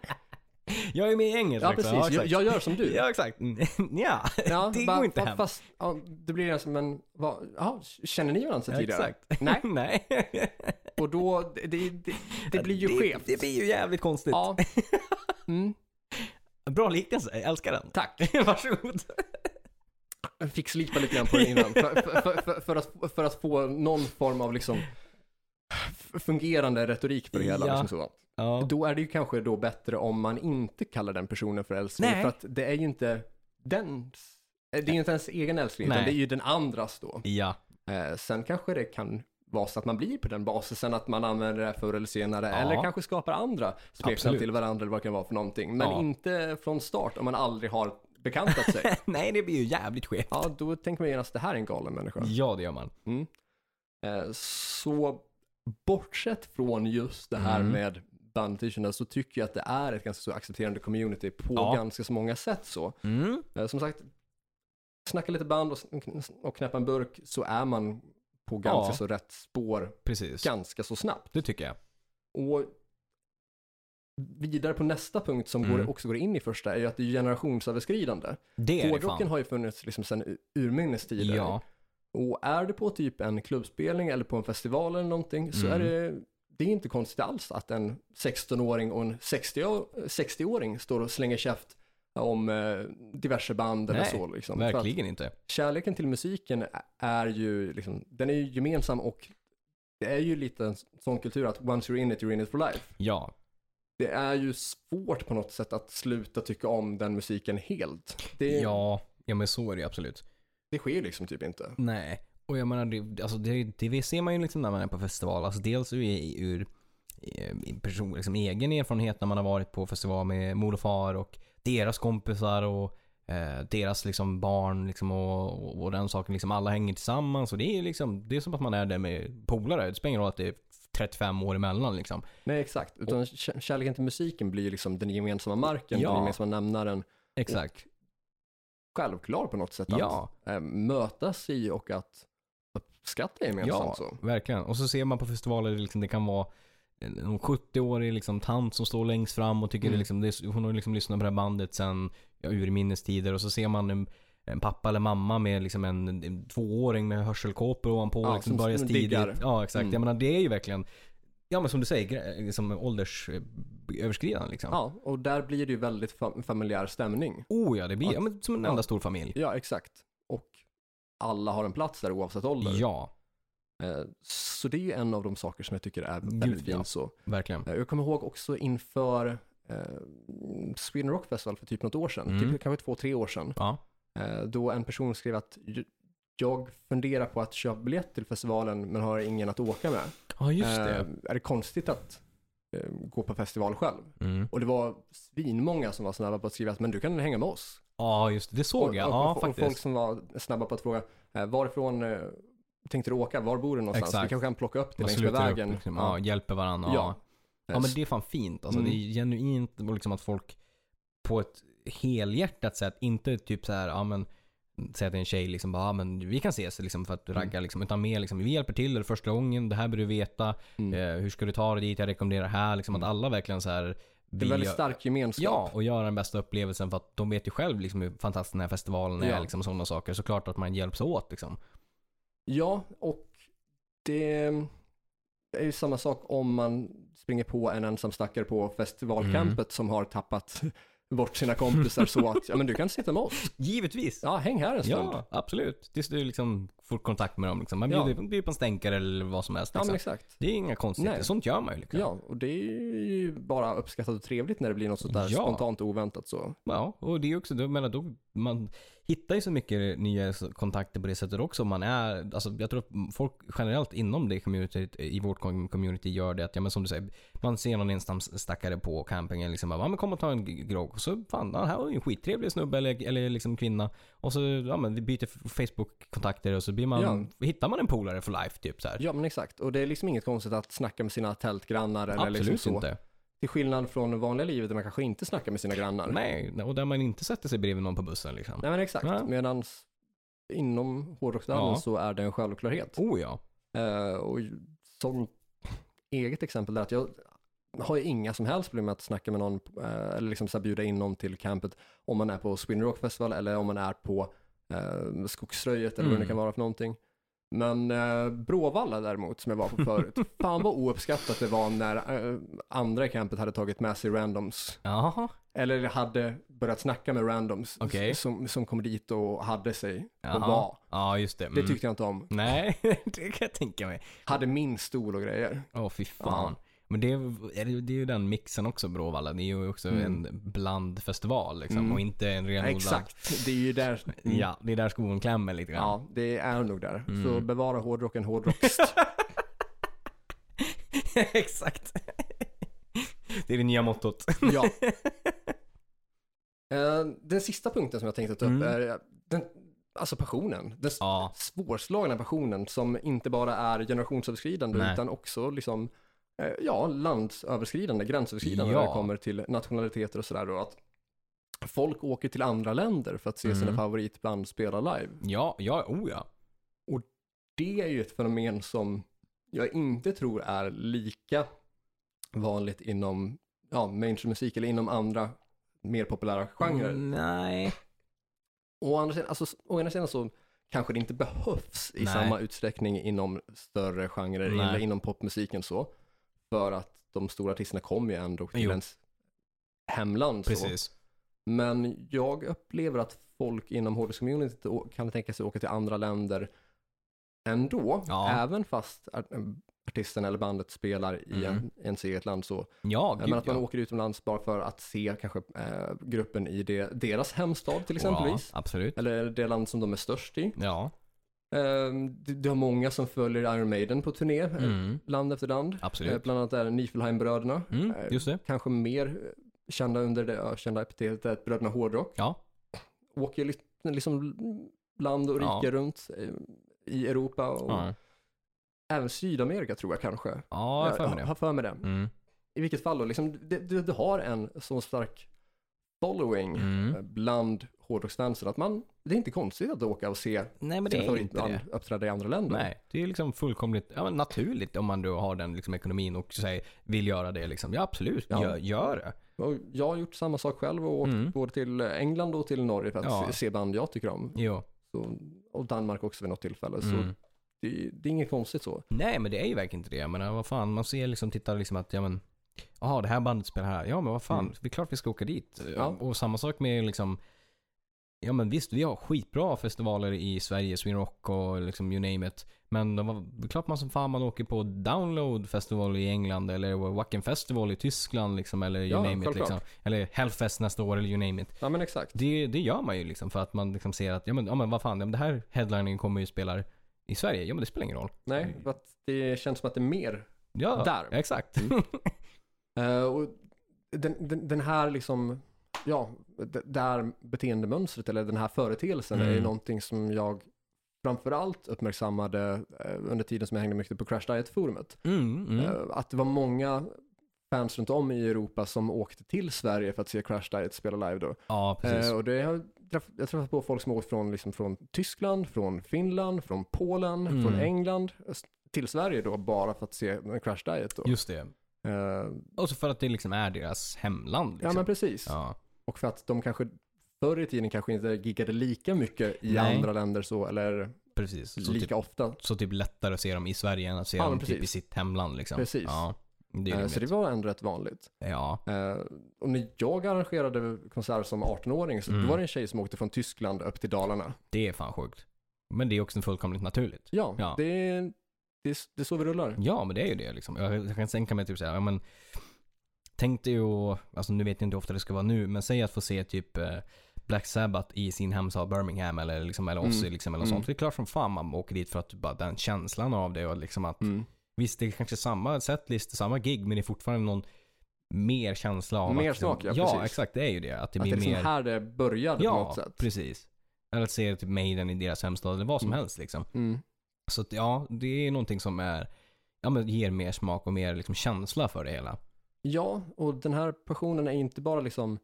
[SPEAKER 1] Jag är med i gänget
[SPEAKER 2] ja
[SPEAKER 1] liksom.
[SPEAKER 2] precis, jag,
[SPEAKER 1] exakt.
[SPEAKER 2] jag gör som du.
[SPEAKER 1] Ja, exakt. Mm. ja,
[SPEAKER 2] Ja,
[SPEAKER 1] det
[SPEAKER 2] va-
[SPEAKER 1] går inte
[SPEAKER 2] va-
[SPEAKER 1] hem.
[SPEAKER 2] Fast, ja, det blir det som en, va, ja, känner ni varandra sedan tidigare?
[SPEAKER 1] exakt.
[SPEAKER 2] Nej.
[SPEAKER 1] Nej.
[SPEAKER 2] Och då, det, det, det, det blir ju
[SPEAKER 1] det,
[SPEAKER 2] skevt.
[SPEAKER 1] Det blir ju jävligt konstigt.
[SPEAKER 2] Ja. Mm,
[SPEAKER 1] Bra liknelse, jag älskar den.
[SPEAKER 2] tack.
[SPEAKER 1] Varsågod.
[SPEAKER 2] Jag fick slipa lite grann på den innan. För, för, för, för, att, för att få någon form av liksom fungerande retorik för det hela.
[SPEAKER 1] Ja.
[SPEAKER 2] Liksom så.
[SPEAKER 1] Ja.
[SPEAKER 2] Då är det ju kanske då bättre om man inte kallar den personen för älskling.
[SPEAKER 1] Nej.
[SPEAKER 2] För att det är ju inte dens, det är ju inte ens egen älskling, utan
[SPEAKER 1] Nej.
[SPEAKER 2] det är ju den andras då.
[SPEAKER 1] ja.
[SPEAKER 2] Eh, sen kanske det kan vara så att man blir på den basisen, att man använder det förr eller senare.
[SPEAKER 1] Ja.
[SPEAKER 2] Eller kanske skapar andra smeknamn
[SPEAKER 1] Absolut.
[SPEAKER 2] till varandra eller vad det kan vara för någonting. Men
[SPEAKER 1] Ja.
[SPEAKER 2] inte från start om man aldrig har bekantat sig.
[SPEAKER 1] Nej, det blir ju jävligt skevt. Ja,
[SPEAKER 2] ja, då tänker man genast det här är en galen människa.
[SPEAKER 1] det gör man.
[SPEAKER 2] Mm. Eh, Så bortsett från just det här
[SPEAKER 1] Mm.
[SPEAKER 2] med bandtischerna så tycker jag att det är ett ganska så accepterande community på
[SPEAKER 1] Ja.
[SPEAKER 2] ganska så många sätt så.
[SPEAKER 1] Mm.
[SPEAKER 2] Eh, Som sagt, snacka lite band och, och knäppa en burk så är man på ganska
[SPEAKER 1] Ja.
[SPEAKER 2] så rätt spår
[SPEAKER 1] Precis.
[SPEAKER 2] ganska så snabbt.
[SPEAKER 1] Det tycker jag.
[SPEAKER 2] Och vidare på nästa punkt som
[SPEAKER 1] Mm.
[SPEAKER 2] går, också går in i första är ju att det är generationsöverskridande.
[SPEAKER 1] Det är det
[SPEAKER 2] Hårdrocken
[SPEAKER 1] fan.
[SPEAKER 2] har ju funnits liksom sedan u- urminnes tider.
[SPEAKER 1] Ja.
[SPEAKER 2] Och är du på typ en klubbspelning eller på en festival eller någonting så
[SPEAKER 1] Mm.
[SPEAKER 2] är det, det är inte konstigt alls att en 16-åring och en 60-å- 60-åring står och slänger käft om eh, diverse band eller
[SPEAKER 1] Nej,
[SPEAKER 2] så. Liksom. För att
[SPEAKER 1] Verkligen inte.
[SPEAKER 2] kärleken till musiken är ju, liksom, den är ju gemensam och det är ju lite en sån kultur att once you're in it, you're in it for life.
[SPEAKER 1] Ja.
[SPEAKER 2] Det är ju svårt på något sätt att sluta tycka om den musiken helt. Det,
[SPEAKER 1] Ja. Ja, men så är det ju absolut.
[SPEAKER 2] det sker liksom typ inte.
[SPEAKER 1] Nej. Och jag menar, det, alltså det, det ser man ju liksom när man är på festival. Alltså dels ur, ur eh, person, liksom egen erfarenhet när man har varit på festival med mor och far och deras kompisar och eh, deras liksom barn liksom och, och, och den saken. Liksom alla hänger tillsammans och det är, liksom, det är som att man är där med polare. Det spelar ingen roll att det är 35 år emellan. Liksom.
[SPEAKER 2] Nej, exakt. Utan kä- kärleken till musiken blir ju liksom den gemensamma marken,
[SPEAKER 1] Ja.
[SPEAKER 2] den gemensamma nämnaren.
[SPEAKER 1] Exakt.
[SPEAKER 2] Självklar på något sätt.
[SPEAKER 1] Ja.
[SPEAKER 2] Att eh, mötas i och att uppskatta gemensamt. Så.
[SPEAKER 1] verkligen. Och så ser man på festivaler, det liksom, det kan vara en 70-årig liksom, tant som står längst fram och tycker
[SPEAKER 2] Mm.
[SPEAKER 1] det, liksom, det är, hon har liksom lyssnat på det här bandet sen ja, urminnes tider och så ser man en, en pappa eller mamma med liksom en, en tvååring med hörselkåpor ovanpå
[SPEAKER 2] Ja,
[SPEAKER 1] och liksom
[SPEAKER 2] som-
[SPEAKER 1] börjar
[SPEAKER 2] som
[SPEAKER 1] tidigt.
[SPEAKER 2] diggar.
[SPEAKER 1] Ja, exakt.
[SPEAKER 2] Mm.
[SPEAKER 1] Jag menar, det är ju verkligen, ja men som du säger, gre- liksom, åldersöverskridande liksom.
[SPEAKER 2] Ja, och där blir det ju väldigt fa- familjär stämning.
[SPEAKER 1] Oh ja, det blir
[SPEAKER 2] Ja.
[SPEAKER 1] ja, men, som en
[SPEAKER 2] Ja.
[SPEAKER 1] enda stor familj.
[SPEAKER 2] Ja, exakt. Och alla har en plats där oavsett ålder.
[SPEAKER 1] Ja,
[SPEAKER 2] Eh, Så det är ju en av de saker som jag tycker är
[SPEAKER 1] Gud,
[SPEAKER 2] väldigt fint.
[SPEAKER 1] ja.
[SPEAKER 2] Så.
[SPEAKER 1] verkligen.
[SPEAKER 2] Eh, Jag kommer ihåg också inför eh, Sweden Rock Festival för typ något år sedan,
[SPEAKER 1] Mm.
[SPEAKER 2] typ, kanske två, tre år sedan,
[SPEAKER 1] Ja.
[SPEAKER 2] eh, då en person skrev att "J- jag funderar på att köpa biljett till festivalen men har ingen att åka med.
[SPEAKER 1] Ja, just
[SPEAKER 2] Eh,
[SPEAKER 1] det.
[SPEAKER 2] Är det konstigt att eh, gå på festival själv?
[SPEAKER 1] Mm.
[SPEAKER 2] Och det var svinmånga som var snabba på att skriva att men du kan hänga med oss.
[SPEAKER 1] Ja, just det. Det såg
[SPEAKER 2] Och-
[SPEAKER 1] jag.
[SPEAKER 2] och-
[SPEAKER 1] Ja,
[SPEAKER 2] och, och
[SPEAKER 1] faktiskt.
[SPEAKER 2] folk som var snabba på att fråga eh, varifrån eh, tänkte du åka? Var bor du någonstans?
[SPEAKER 1] Exakt.
[SPEAKER 2] Vi kanske kan plocka upp dig
[SPEAKER 1] Man
[SPEAKER 2] längs med
[SPEAKER 1] sluter
[SPEAKER 2] vägen.
[SPEAKER 1] upp liksom, ja, hjälper varandra.
[SPEAKER 2] Ja.
[SPEAKER 1] Ja. ja,
[SPEAKER 2] Eh,
[SPEAKER 1] men det är fan fint. Alltså,
[SPEAKER 2] Mm.
[SPEAKER 1] Det är genuint och liksom att folk på ett helhjärtat sätt, inte typ så här, ja men säg att det är en tjej liksom bara, ja, men vi kan ses liksom för att
[SPEAKER 2] Mm.
[SPEAKER 1] ragga liksom. Utan mer liksom, vi hjälper till, det är första gången, det här bör du veta.
[SPEAKER 2] Mm.
[SPEAKER 1] Eh, hur ska du ta dig dit? Jag rekommenderar här. Liksom att alla verkligen så här
[SPEAKER 2] Det är en
[SPEAKER 1] vill
[SPEAKER 2] väldigt
[SPEAKER 1] gö-
[SPEAKER 2] stark gemenskap.
[SPEAKER 1] Ja, och göra den bästa upplevelsen för att de vet ju själv liksom hur fantastisk den här festivalen
[SPEAKER 2] Ja.
[SPEAKER 1] är. Liksom, sådana saker. Såklart att man hjälps åt liksom.
[SPEAKER 2] Ja, och det är ju samma sak om man springer på en ensam stackare på festivalcampet
[SPEAKER 1] Mm.
[SPEAKER 2] som har tappat bort sina kompisar så att, ja men du kan sitta med oss.
[SPEAKER 1] Givetvis.
[SPEAKER 2] Ja, häng här en stund. Ja,
[SPEAKER 1] Ja, absolut. Tills du liksom får kontakt med dem. Liksom. Man
[SPEAKER 2] Ja.
[SPEAKER 1] bjuder, bjuder på en stänkare eller vad som helst. Liksom.
[SPEAKER 2] men exakt.
[SPEAKER 1] det är inga konstigheter.
[SPEAKER 2] Nej.
[SPEAKER 1] Sånt gör man ju. Liksom.
[SPEAKER 2] Ja, och det är ju bara uppskattat och trevligt när det blir något sånt där
[SPEAKER 1] Ja.
[SPEAKER 2] spontant och oväntat så.
[SPEAKER 1] Ja, och det är ju också, jag menar, då, man hittar ju så mycket nya kontakter på det sättet också. Man är, alltså, jag tror att folk generellt inom det communityt, i vårt com- community gör det att, ja men som du säger, man ser någon ensam stackare på campingen liksom, bara, ja men kom och ta en g- grogg. Och så, fan, ja, här var ju en skittrevlig snubbe eller, eller liksom kvinna. Och så, ja men vi byter f- Facebook-kontakter och så blir man, hittar man en polare för life typ så här.
[SPEAKER 2] Ja, men exakt. Och det är liksom inget konstigt att snacka med sina tältgrannar eller
[SPEAKER 1] Absolut
[SPEAKER 2] liksom så.
[SPEAKER 1] inte.
[SPEAKER 2] Till skillnad från det vanliga livet där man kanske inte snackar med sina grannar.
[SPEAKER 1] Nej, och där man inte sätter sig bredvid någon på bussen liksom.
[SPEAKER 2] Nej men exakt.
[SPEAKER 1] Nej.
[SPEAKER 2] Medan inom hårdrocksvärlden
[SPEAKER 1] Ja.
[SPEAKER 2] så är det en självklarhet.
[SPEAKER 1] Oh ja.
[SPEAKER 2] Eh, och ju- som eget exempel där att jag har ju inga som helst problem med att snacka med någon eh, eller liksom så här bjuda in någon till campet om man är på Sweden Rock Festival eller om man är på eh, Skogsröjet eller vad det
[SPEAKER 1] Mm.
[SPEAKER 2] kan vara för någonting. Men eh, Bråvalla däremot som jag var på förut, fan vad ouppskattat det var när eh, andra i campet hade tagit med sig randoms.
[SPEAKER 1] Jaha.
[SPEAKER 2] Eller hade börjat snacka med randoms
[SPEAKER 1] Okej.
[SPEAKER 2] som, som kom dit och hade sig och
[SPEAKER 1] Jaha.
[SPEAKER 2] var.
[SPEAKER 1] Ja, just det. Mm.
[SPEAKER 2] Det tyckte jag inte om.
[SPEAKER 1] Nej, det kan jag tänka mig.
[SPEAKER 2] Hade min stol och grejer.
[SPEAKER 1] Åh, fy fan. Men det är, är det, det är ju den mixen också, Bråvalla. Det är ju också
[SPEAKER 2] Mm.
[SPEAKER 1] en blandfestival liksom
[SPEAKER 2] Mm.
[SPEAKER 1] och inte en renodlad...
[SPEAKER 2] Exakt, det är ju där. Mm.
[SPEAKER 1] Ja, det är där skon klämmer lite grann.
[SPEAKER 2] Ja, det är nog där.
[SPEAKER 1] Mm.
[SPEAKER 2] Så bevara hårdrocken hårdrockst.
[SPEAKER 1] Exakt. det är det nya mottot.
[SPEAKER 2] ja. Eh, Den sista punkten som jag tänkte ta upp
[SPEAKER 1] Mm.
[SPEAKER 2] är eh, den, alltså passionen. Den s-
[SPEAKER 1] Ja.
[SPEAKER 2] svårslagna passionen som inte bara är generationsöverskridande
[SPEAKER 1] Nej.
[SPEAKER 2] utan också liksom, eh, ja, landsöverskridande, gränsöverskridande
[SPEAKER 1] Ja.
[SPEAKER 2] när det kommer till nationaliteter och sådär. då, Att folk åker till andra länder för att se sina
[SPEAKER 1] Mm.
[SPEAKER 2] favoritband spela live.
[SPEAKER 1] Ja, ja, oh ja.
[SPEAKER 2] det är ju ett fenomen som jag inte tror är lika vanligt inom ja, mainstreammusik eller inom andra mer populära genrer.
[SPEAKER 1] Mm. Nej.
[SPEAKER 2] Å, andra sidan, alltså, å ena sidan så kanske det inte behövs i
[SPEAKER 1] Nej.
[SPEAKER 2] samma utsträckning inom större genrer
[SPEAKER 1] Nej.
[SPEAKER 2] eller inom popmusiken så. För att de stora artisterna kommer ju ändå till
[SPEAKER 1] Jo.
[SPEAKER 2] ens hemland. Så.
[SPEAKER 1] Precis.
[SPEAKER 2] Men jag upplever att folk inom hårdrockscommunityt å- kan tänka sig åka till andra länder ändå.
[SPEAKER 1] Ja.
[SPEAKER 2] Även fast ar- artisten eller bandet spelar i
[SPEAKER 1] Mm.
[SPEAKER 2] en, ens eget land så.
[SPEAKER 1] Ja, gud
[SPEAKER 2] Men att man
[SPEAKER 1] ja.
[SPEAKER 2] åker utomlands bara för att se kanske eh, gruppen i det, deras hemstad till exempelvis.
[SPEAKER 1] Ja, absolut.
[SPEAKER 2] Eller det land som de är störst i.
[SPEAKER 1] Ja.
[SPEAKER 2] Ehm, Du, du har många som följer Iron Maiden på turné, eh,
[SPEAKER 1] Mm.
[SPEAKER 2] land efter land. Eh,
[SPEAKER 1] Absolut.
[SPEAKER 2] Bland annat är det Nifelheim-bröderna.
[SPEAKER 1] Mm,
[SPEAKER 2] Eh,
[SPEAKER 1] just det.
[SPEAKER 2] Kanske mer eh, kända under det ökända epitetet Bröderna Hårdrock.
[SPEAKER 1] Ja.
[SPEAKER 2] Åker li- liksom land och
[SPEAKER 1] Ja.
[SPEAKER 2] rike runt eh, i Europa och
[SPEAKER 1] Ja,
[SPEAKER 2] även Sydamerika tror jag kanske.
[SPEAKER 1] ja jag har för mig
[SPEAKER 2] Eh,
[SPEAKER 1] det.
[SPEAKER 2] Har för mig det.
[SPEAKER 1] Mm.
[SPEAKER 2] I vilket fall då, liksom, det- du, du har en så stark following
[SPEAKER 1] Mm.
[SPEAKER 2] eh, bland hårdrocksfansen att man, det är inte konstigt att åka och se
[SPEAKER 1] Nej, men det
[SPEAKER 2] sina
[SPEAKER 1] är inte
[SPEAKER 2] favoritband
[SPEAKER 1] det.
[SPEAKER 2] uppträda i andra länder.
[SPEAKER 1] Nej, det är liksom fullkomligt ja, men naturligt om man då har den liksom, ekonomin och säger, vill göra det. Liksom. Ja, absolut.
[SPEAKER 2] Ja.
[SPEAKER 1] Gör, gör det.
[SPEAKER 2] Och jag har gjort samma sak själv och åkt
[SPEAKER 1] Mm.
[SPEAKER 2] både till England och till Norge för att
[SPEAKER 1] Ja.
[SPEAKER 2] se- se band jag tycker om.
[SPEAKER 1] Jo.
[SPEAKER 2] Så, och Danmark också vid något tillfälle. Så
[SPEAKER 1] Mm.
[SPEAKER 2] det, det är inget konstigt så.
[SPEAKER 1] Nej, men det är ju verkligen inte det. Jag menar, vad fan, man ser liksom, tittar liksom att, ja men, jaha, det här bandet spelar här. Ja, men vad fan,
[SPEAKER 2] Mm.
[SPEAKER 1] det är klart vi ska åka dit.
[SPEAKER 2] Ja.
[SPEAKER 1] Och samma sak med liksom, ja men visst, vi har skitbra festivaler i Sverige, Sweden Rock och liksom you name it. Men de var, det är klart man som fan man åker på Download Festival i England eller Wacken Festival i Tyskland liksom, eller you
[SPEAKER 2] Ja,
[SPEAKER 1] name it.
[SPEAKER 2] självklart.
[SPEAKER 1] Liksom. Eller Hellfest nästa år eller you name it.
[SPEAKER 2] Ja men exakt.
[SPEAKER 1] Det, det gör man ju liksom för att man liksom ser att, ja men, ja, men vad fan, ja, men det här headliningen kommer ju spela i Sverige. Ja men det spelar ingen roll.
[SPEAKER 2] Nej, för att det känns som att det är mer.
[SPEAKER 1] Ja,
[SPEAKER 2] Där.
[SPEAKER 1] exakt.
[SPEAKER 2] Eh, och den, den, den här liksom, ja, d- där beteendemönstret eller den här företeelsen
[SPEAKER 1] Mm.
[SPEAKER 2] är någonting som jag framförallt uppmärksammade eh, under tiden som jag hängde mycket på Crash Diet-forumet.
[SPEAKER 1] Mm, mm.
[SPEAKER 2] Eh, Att det var många fans runt om i Europa som åkte till Sverige för att se Crash Diet spela live då.
[SPEAKER 1] ja, precis.
[SPEAKER 2] Eh, och det har jag, träff, jag har träffat på folk som åkt från, liksom, från Tyskland, från Finland, från Polen,
[SPEAKER 1] Mm.
[SPEAKER 2] från England eh, s- till Sverige då bara för att se en Crash Diet då.
[SPEAKER 1] Just det.
[SPEAKER 2] Eh,
[SPEAKER 1] Och så för att det liksom är deras hemland. Liksom.
[SPEAKER 2] Ja men precis.
[SPEAKER 1] ja.
[SPEAKER 2] Och för att de kanske förr i tiden kanske inte giggade lika mycket i
[SPEAKER 1] Nej.
[SPEAKER 2] andra länder så, eller
[SPEAKER 1] precis. Så
[SPEAKER 2] lika
[SPEAKER 1] typ,
[SPEAKER 2] ofta.
[SPEAKER 1] så typ lättare att se dem i Sverige än att se
[SPEAKER 2] Ja,
[SPEAKER 1] dem
[SPEAKER 2] men
[SPEAKER 1] typ
[SPEAKER 2] precis.
[SPEAKER 1] i sitt hemland. Liksom.
[SPEAKER 2] Precis.
[SPEAKER 1] Ja, det är
[SPEAKER 2] Eh,
[SPEAKER 1] rimligt.
[SPEAKER 2] Så det var ändå rätt vanligt.
[SPEAKER 1] Ja.
[SPEAKER 2] Eh, och när jag arrangerade konserter som 18-åring så
[SPEAKER 1] Mm.
[SPEAKER 2] då var det en tjej som åkte från Tyskland upp till Dalarna.
[SPEAKER 1] Det är fan sjukt. Men det är också fullkomligt naturligt.
[SPEAKER 2] Ja,
[SPEAKER 1] Ja.
[SPEAKER 2] Det, är- det, är- det är så vi rullar.
[SPEAKER 1] Ja, men det är ju det liksom. Jag, jag kan tänka mig typ såhär, ja men tänk dig att, alltså nu vet jag inte hur ofta det ska vara nu, men säg att få se typ eh, Black Sabbath i sin hemstad Birmingham eller liksom, eller Ozzy
[SPEAKER 2] Mm.
[SPEAKER 1] liksom eller
[SPEAKER 2] Mm.
[SPEAKER 1] sånt. Det är klart som fan man åker dit för att bara den känslan av det och liksom att
[SPEAKER 2] Mm.
[SPEAKER 1] Visst, det är kanske samma setlist, samma gig, men det är fortfarande någon mer känsla av
[SPEAKER 2] Mer
[SPEAKER 1] att, liksom-
[SPEAKER 2] smak, ja,
[SPEAKER 1] Ja,
[SPEAKER 2] precis.
[SPEAKER 1] exakt. Det är ju det. Att det
[SPEAKER 2] att det
[SPEAKER 1] blir
[SPEAKER 2] är liksom
[SPEAKER 1] mer...
[SPEAKER 2] här det började på
[SPEAKER 1] ja,
[SPEAKER 2] något sätt.
[SPEAKER 1] precis. Eller att se typ Maiden i deras hemstad eller vad som
[SPEAKER 2] Mm.
[SPEAKER 1] helst liksom.
[SPEAKER 2] Mm.
[SPEAKER 1] Så att, ja, det är någonting som är, ja, men ger mer smak och mer liksom, känsla för det hela.
[SPEAKER 2] Ja, och den här passionen är inte bara liksom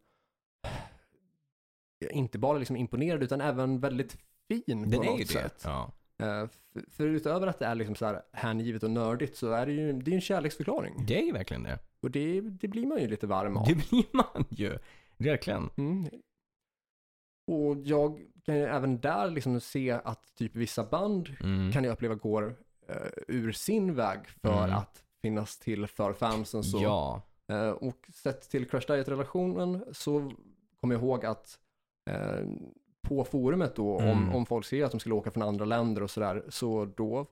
[SPEAKER 2] inte bara liksom imponerad utan även väldigt fin
[SPEAKER 1] Den
[SPEAKER 2] på
[SPEAKER 1] är
[SPEAKER 2] något
[SPEAKER 1] ju det.
[SPEAKER 2] sätt.
[SPEAKER 1] Ja.
[SPEAKER 2] Eh, För, för utöver att det är liksom så här hängivet och nördigt så är det ju det är ju en kärleksförklaring.
[SPEAKER 1] Det är ju verkligen det.
[SPEAKER 2] Och det, det blir man ju lite varm av.
[SPEAKER 1] Det blir man ju. Verkligen.
[SPEAKER 2] Mm. Och jag kan ju även där liksom se att typ vissa band
[SPEAKER 1] Mm.
[SPEAKER 2] kan jag uppleva går eh, ur sin väg för
[SPEAKER 1] Mm.
[SPEAKER 2] att finnas till för fansen. Så,
[SPEAKER 1] Ja.
[SPEAKER 2] Eh, och sett till Crash Diet-relationen så kommer jag ihåg att eh, på forumet då, om,
[SPEAKER 1] Mm.
[SPEAKER 2] om folk ser att de skulle åka från andra länder och sådär, så då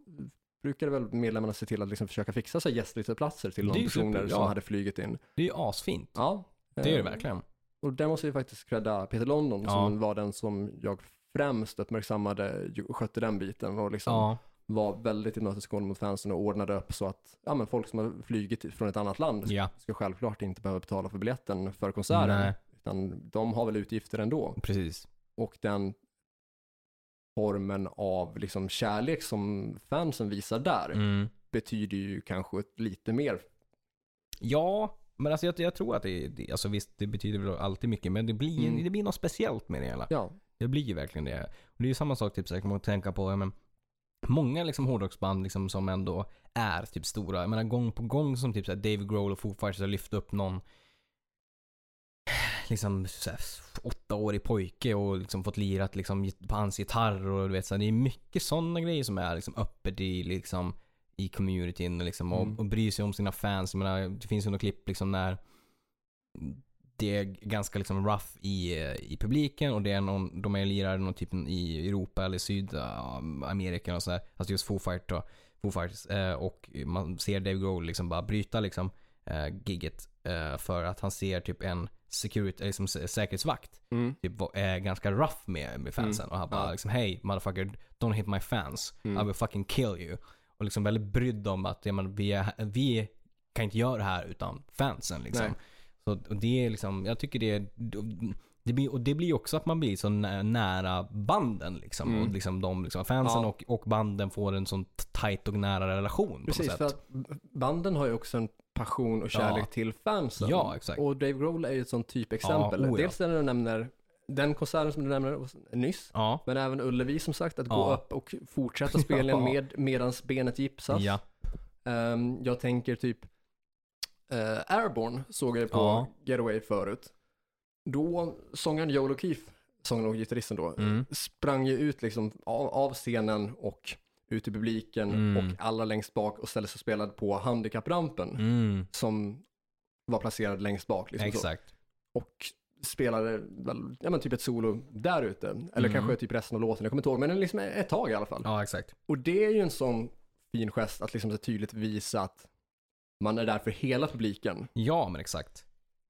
[SPEAKER 2] brukade väl medlemmarna se till att liksom försöka fixa sig gästlistorplatser till
[SPEAKER 1] Det är
[SPEAKER 2] de
[SPEAKER 1] ju
[SPEAKER 2] personer
[SPEAKER 1] super,
[SPEAKER 2] som
[SPEAKER 1] ja.
[SPEAKER 2] hade flugit in.
[SPEAKER 1] Det är ju asfint.
[SPEAKER 2] Ja,
[SPEAKER 1] Det är det
[SPEAKER 2] eh,
[SPEAKER 1] verkligen.
[SPEAKER 2] Och där måste jag faktiskt credda Peter London
[SPEAKER 1] Ja.
[SPEAKER 2] som var den som jag främst uppmärksammade och skötte den biten och liksom
[SPEAKER 1] Ja.
[SPEAKER 2] var väldigt tillmötesgående mot fansen och ordnade upp så att ja, men folk som har flugit från ett annat land
[SPEAKER 1] Ja.
[SPEAKER 2] ska självklart inte behöva betala för biljetten för konserten.
[SPEAKER 1] Nej.
[SPEAKER 2] Utan de har väl utgifter ändå.
[SPEAKER 1] Precis.
[SPEAKER 2] Och den formen av liksom kärlek som fansen visar där
[SPEAKER 1] Mm.
[SPEAKER 2] betyder ju kanske ett lite mer.
[SPEAKER 1] Ja, men alltså jag, jag tror att det, det, alltså visst det betyder väl alltid mycket, men det blir,
[SPEAKER 2] Mm.
[SPEAKER 1] det blir något speciellt med det hela.
[SPEAKER 2] Ja,
[SPEAKER 1] Det blir ju verkligen det. Och det är ju samma sak, typ, så här, kan man tänka på, ja, men, många liksom, hårdrocksband liksom, som ändå är typ stora. Jag menar gång på gång som typ så här, Dave Grohl och Foo Fighters har lyft upp någon liksom så här, åttaårig pojke och liksom fått lirat liksom, på hans gitarr och du vet så här, det är mycket sådana grejer som är liksom öppet i liksom i communityn liksom, och,
[SPEAKER 2] Mm.
[SPEAKER 1] och bryr sig om sina fans. Jag menar, det finns ju några klipp liksom när det är ganska liksom rough i, eh, i publiken och det är någon, de är lirar någon typ i Europa eller Sydamerika och sådär. Alltså just Foo Fighters då. Foo Fighters. Eh, och man ser Dave Grohl liksom bara bryta liksom eh, gigget eh, för att han ser typ en security, liksom, sä- säkerhetsvakt
[SPEAKER 2] Mm.
[SPEAKER 1] typ, var- är ganska rough med, med fansen. Och han bara
[SPEAKER 2] Ja.
[SPEAKER 1] liksom, hey motherfucker, don't hit my fans.
[SPEAKER 2] Mm.
[SPEAKER 1] I will fucking kill you. Och liksom väldigt brydd om att ja, men, vi, är, vi kan inte göra det här utan fansen.
[SPEAKER 2] Nej.
[SPEAKER 1] Liksom. Så, och det är liksom, jag tycker det är, det blir, och det blir ju också att man blir så nä- nära banden liksom.
[SPEAKER 2] Mm.
[SPEAKER 1] Och liksom de, liksom, fansen
[SPEAKER 2] Ja.
[SPEAKER 1] och, och banden får en sån t- tight och nära relation på
[SPEAKER 2] Precis,
[SPEAKER 1] något
[SPEAKER 2] för
[SPEAKER 1] sätt.
[SPEAKER 2] att banden har ju också en passion och kärlek
[SPEAKER 1] Ja.
[SPEAKER 2] till fansen.
[SPEAKER 1] Ja, exakt.
[SPEAKER 2] Och Dave Grohl är ju ett sånt typexempel.
[SPEAKER 1] Ja, oh ja.
[SPEAKER 2] Dels den du nämner, den konserten som du nämner och s- nyss,
[SPEAKER 1] Ja.
[SPEAKER 2] men även Ullevi som sagt, att gå
[SPEAKER 1] Ja.
[SPEAKER 2] upp och fortsätta spelningen
[SPEAKER 1] Ja.
[SPEAKER 2] med, medans benet gipsas.
[SPEAKER 1] Ja.
[SPEAKER 2] Ehm, jag tänker typ eh, Airborne såg jag ju på
[SPEAKER 1] Ja.
[SPEAKER 2] Getaway förut. Då sångaren Joel O'Keefe, sångaren och gitarristen då,
[SPEAKER 1] Mm.
[SPEAKER 2] sprang ju ut liksom av, av scenen och ut i publiken
[SPEAKER 1] Mm.
[SPEAKER 2] och alla längst bak och ställde sig och spelade på handikapprampen
[SPEAKER 1] Mm.
[SPEAKER 2] som var placerad längst bak. Liksom så.
[SPEAKER 1] Exakt.
[SPEAKER 2] Och spelade väl, ja, men typ ett solo där ute. Eller
[SPEAKER 1] Mm.
[SPEAKER 2] kanske typ resten av låten, jag kommer inte ihåg. Men liksom ett tag i alla fall.
[SPEAKER 1] Ja, exakt.
[SPEAKER 2] Och det är ju en sån fin gest att liksom så tydligt visa att man är där för hela publiken.
[SPEAKER 1] Ja, men exakt.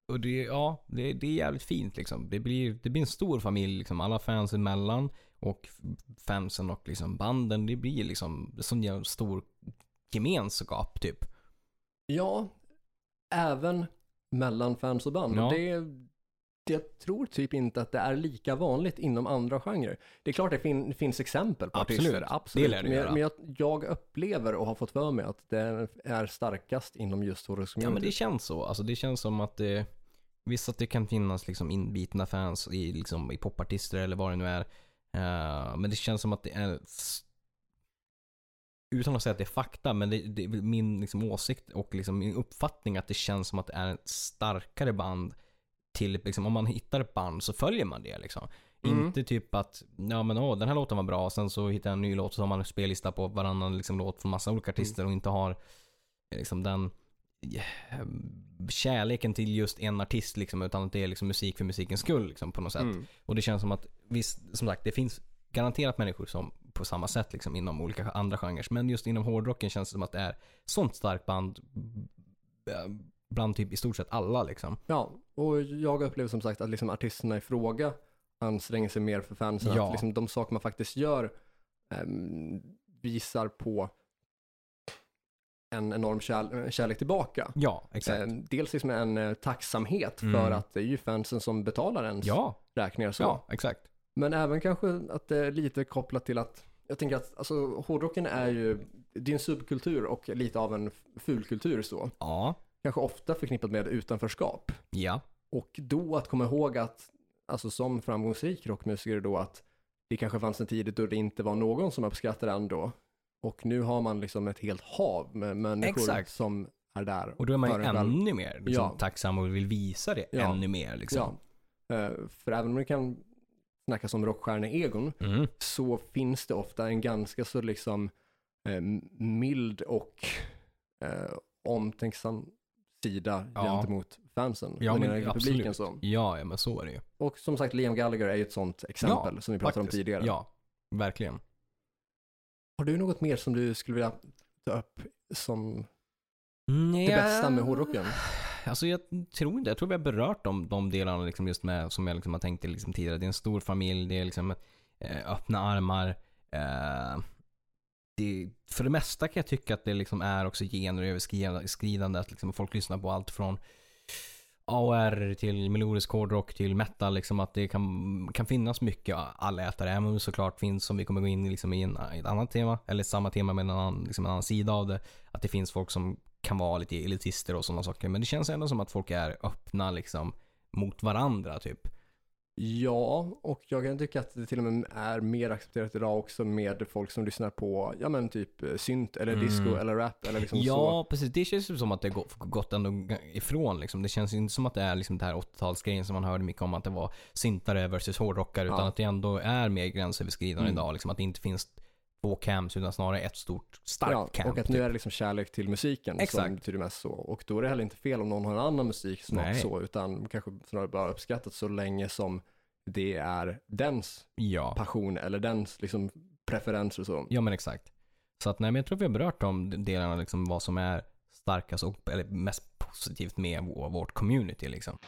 [SPEAKER 1] Och det, ja, det, det är jävligt fint liksom. Det blir, det blir en stor familj liksom. Alla fans emellan och f- fansen och liksom banden. Det blir liksom en sån jävla stor gemenskap typ.
[SPEAKER 2] Ja, även mellan fans och band.
[SPEAKER 1] Ja.
[SPEAKER 2] Och det, det- jag tror typ inte att det är lika vanligt inom andra genrer. Det är klart det fin, finns exempel på
[SPEAKER 1] Absolut.
[SPEAKER 2] artister, absolut.
[SPEAKER 1] Det lär det
[SPEAKER 2] men jag,
[SPEAKER 1] göra.
[SPEAKER 2] men jag, jag upplever och har fått för mig att det är starkast inom just Horus
[SPEAKER 1] Ja, men
[SPEAKER 2] Community.
[SPEAKER 1] det känns så. Alltså det känns som att det, visst att det kan finnas liksom inbitna fans i, liksom, i popartister eller vad det nu är. Eh, men det känns som att det är, s- utan att säga att det är fakta, men det, det är väl min liksom, åsikt och liksom, min uppfattning att det känns som att det är ett starkare band till, liksom, om man hittar ett band så följer man det liksom.
[SPEAKER 2] Mm.
[SPEAKER 1] Inte typ att, ja men åh, den här låten var bra, sen så hittar jag en ny låt och så har man en spellista på varannan liksom, låt från massa olika artister och inte har eh, liksom, den eh, kärleken till just en artist liksom, utan att det är liksom musik för musikens skull liksom, på något sätt.
[SPEAKER 2] Mm.
[SPEAKER 1] Och det känns som att, visst, som sagt, det finns garanterat människor som på samma sätt liksom inom olika andra genrer. Men just inom hårdrocken känns det som att det är sånt starkt band eh, bland typ i stort sett alla liksom.
[SPEAKER 2] Ja, och jag upplever som sagt att liksom artisterna i fråga anstränger sig mer för fansen.
[SPEAKER 1] Ja.
[SPEAKER 2] Att liksom de saker man faktiskt gör ehm, visar på en enorm kär- kärlek tillbaka.
[SPEAKER 1] Ja, exakt.
[SPEAKER 2] Ehm, dels liksom en eh, tacksamhet
[SPEAKER 1] Mm.
[SPEAKER 2] för att det är ju fansen som betalar ens
[SPEAKER 1] ja,
[SPEAKER 2] räkningar. Så.
[SPEAKER 1] ja, exakt.
[SPEAKER 2] Men även kanske att det är lite kopplat till att jag tänker att alltså, hårdrocken är ju, det är en subkultur och lite av en fulkultur så.
[SPEAKER 1] Ja,
[SPEAKER 2] Kanske ofta förknippat med utanförskap.
[SPEAKER 1] ja,
[SPEAKER 2] Och då att komma ihåg att, alltså som framgångsrik rockmusiker då, att det kanske fanns en tid då det inte var någon som uppskattade en då. Och nu har man liksom ett helt hav med människor
[SPEAKER 1] Exakt.
[SPEAKER 2] som är där.
[SPEAKER 1] och då är man
[SPEAKER 2] för
[SPEAKER 1] ju
[SPEAKER 2] en väl-
[SPEAKER 1] ännu mer liksom,
[SPEAKER 2] Ja.
[SPEAKER 1] tacksam och vill visa det
[SPEAKER 2] Ja.
[SPEAKER 1] ännu mer liksom.
[SPEAKER 2] Ja. Eh, För även om det kan snackas om rockstjärne-egon,
[SPEAKER 1] Mm.
[SPEAKER 2] så finns det ofta en ganska så liksom eh, mild och eh, omtänksam sida
[SPEAKER 1] Ja.
[SPEAKER 2] gentemot fansen.
[SPEAKER 1] Ja,
[SPEAKER 2] den
[SPEAKER 1] men
[SPEAKER 2] egna
[SPEAKER 1] absolut.
[SPEAKER 2] publiken så.
[SPEAKER 1] Ja, ja, men så är det ju.
[SPEAKER 2] Och som sagt, Liam Gallagher är ju ett sånt exempel som vi pratade om
[SPEAKER 1] Faktiskt.
[SPEAKER 2] tidigare.
[SPEAKER 1] Ja, verkligen.
[SPEAKER 2] Har du något mer som du skulle vilja ta upp som det bästa med hårdrocken?
[SPEAKER 1] Alltså jag tror inte, jag tror vi har berört de, de delarna liksom just med, som jag liksom har tänkt till liksom tidigare. Det är en stor familj, det är liksom eh, öppna armar. Eh, det, för det mesta kan jag tycka att det liksom är också genreöverskridande, att liksom folk lyssnar på allt från AR till melodisk hårdrock till metal. Liksom att det kan, kan finnas mycket allätare. Även om det såklart finns, som vi kommer gå in i, liksom i, en, i ett annat tema, eller samma tema men en annan, liksom en annan sida av det. Att det finns folk som kan vara lite elitister och sådana saker. Men det känns ändå som att folk är öppna liksom mot varandra typ.
[SPEAKER 2] Ja, och jag kan tycka att det till och med är mer accepterat idag också med folk som lyssnar på, ja men typ eh, synt eller
[SPEAKER 1] Mm.
[SPEAKER 2] disco eller rap eller liksom så.
[SPEAKER 1] ja, precis. Det känns ju som att det har gå- gått ändå g- ifrån liksom. Det känns ju inte som att det är liksom det här 80-talsgrejen som man hörde mycket om att det var syntare versus hårdrockare. Utan
[SPEAKER 2] Ja.
[SPEAKER 1] att det ändå är mer gränsöverskridande
[SPEAKER 2] Mm.
[SPEAKER 1] idag. Liksom att det inte finns två camps utan snarare ett stort starkt
[SPEAKER 2] Ja,
[SPEAKER 1] camp. typ.
[SPEAKER 2] och att nu är det liksom kärlek till musiken som
[SPEAKER 1] Exakt.
[SPEAKER 2] betyder mest så. Och då är det heller inte fel om någon har en annan musik som
[SPEAKER 1] Nej.
[SPEAKER 2] så, utan kanske snarare bara uppskattat så länge som det är dens
[SPEAKER 1] ja.
[SPEAKER 2] passion eller dens liksom preferenser och så.
[SPEAKER 1] ja, men exakt. Så att, nej, men jag tror vi har berört de delarna, liksom, vad som är starkast och eller mest positivt med vår- vårt community. Liksom.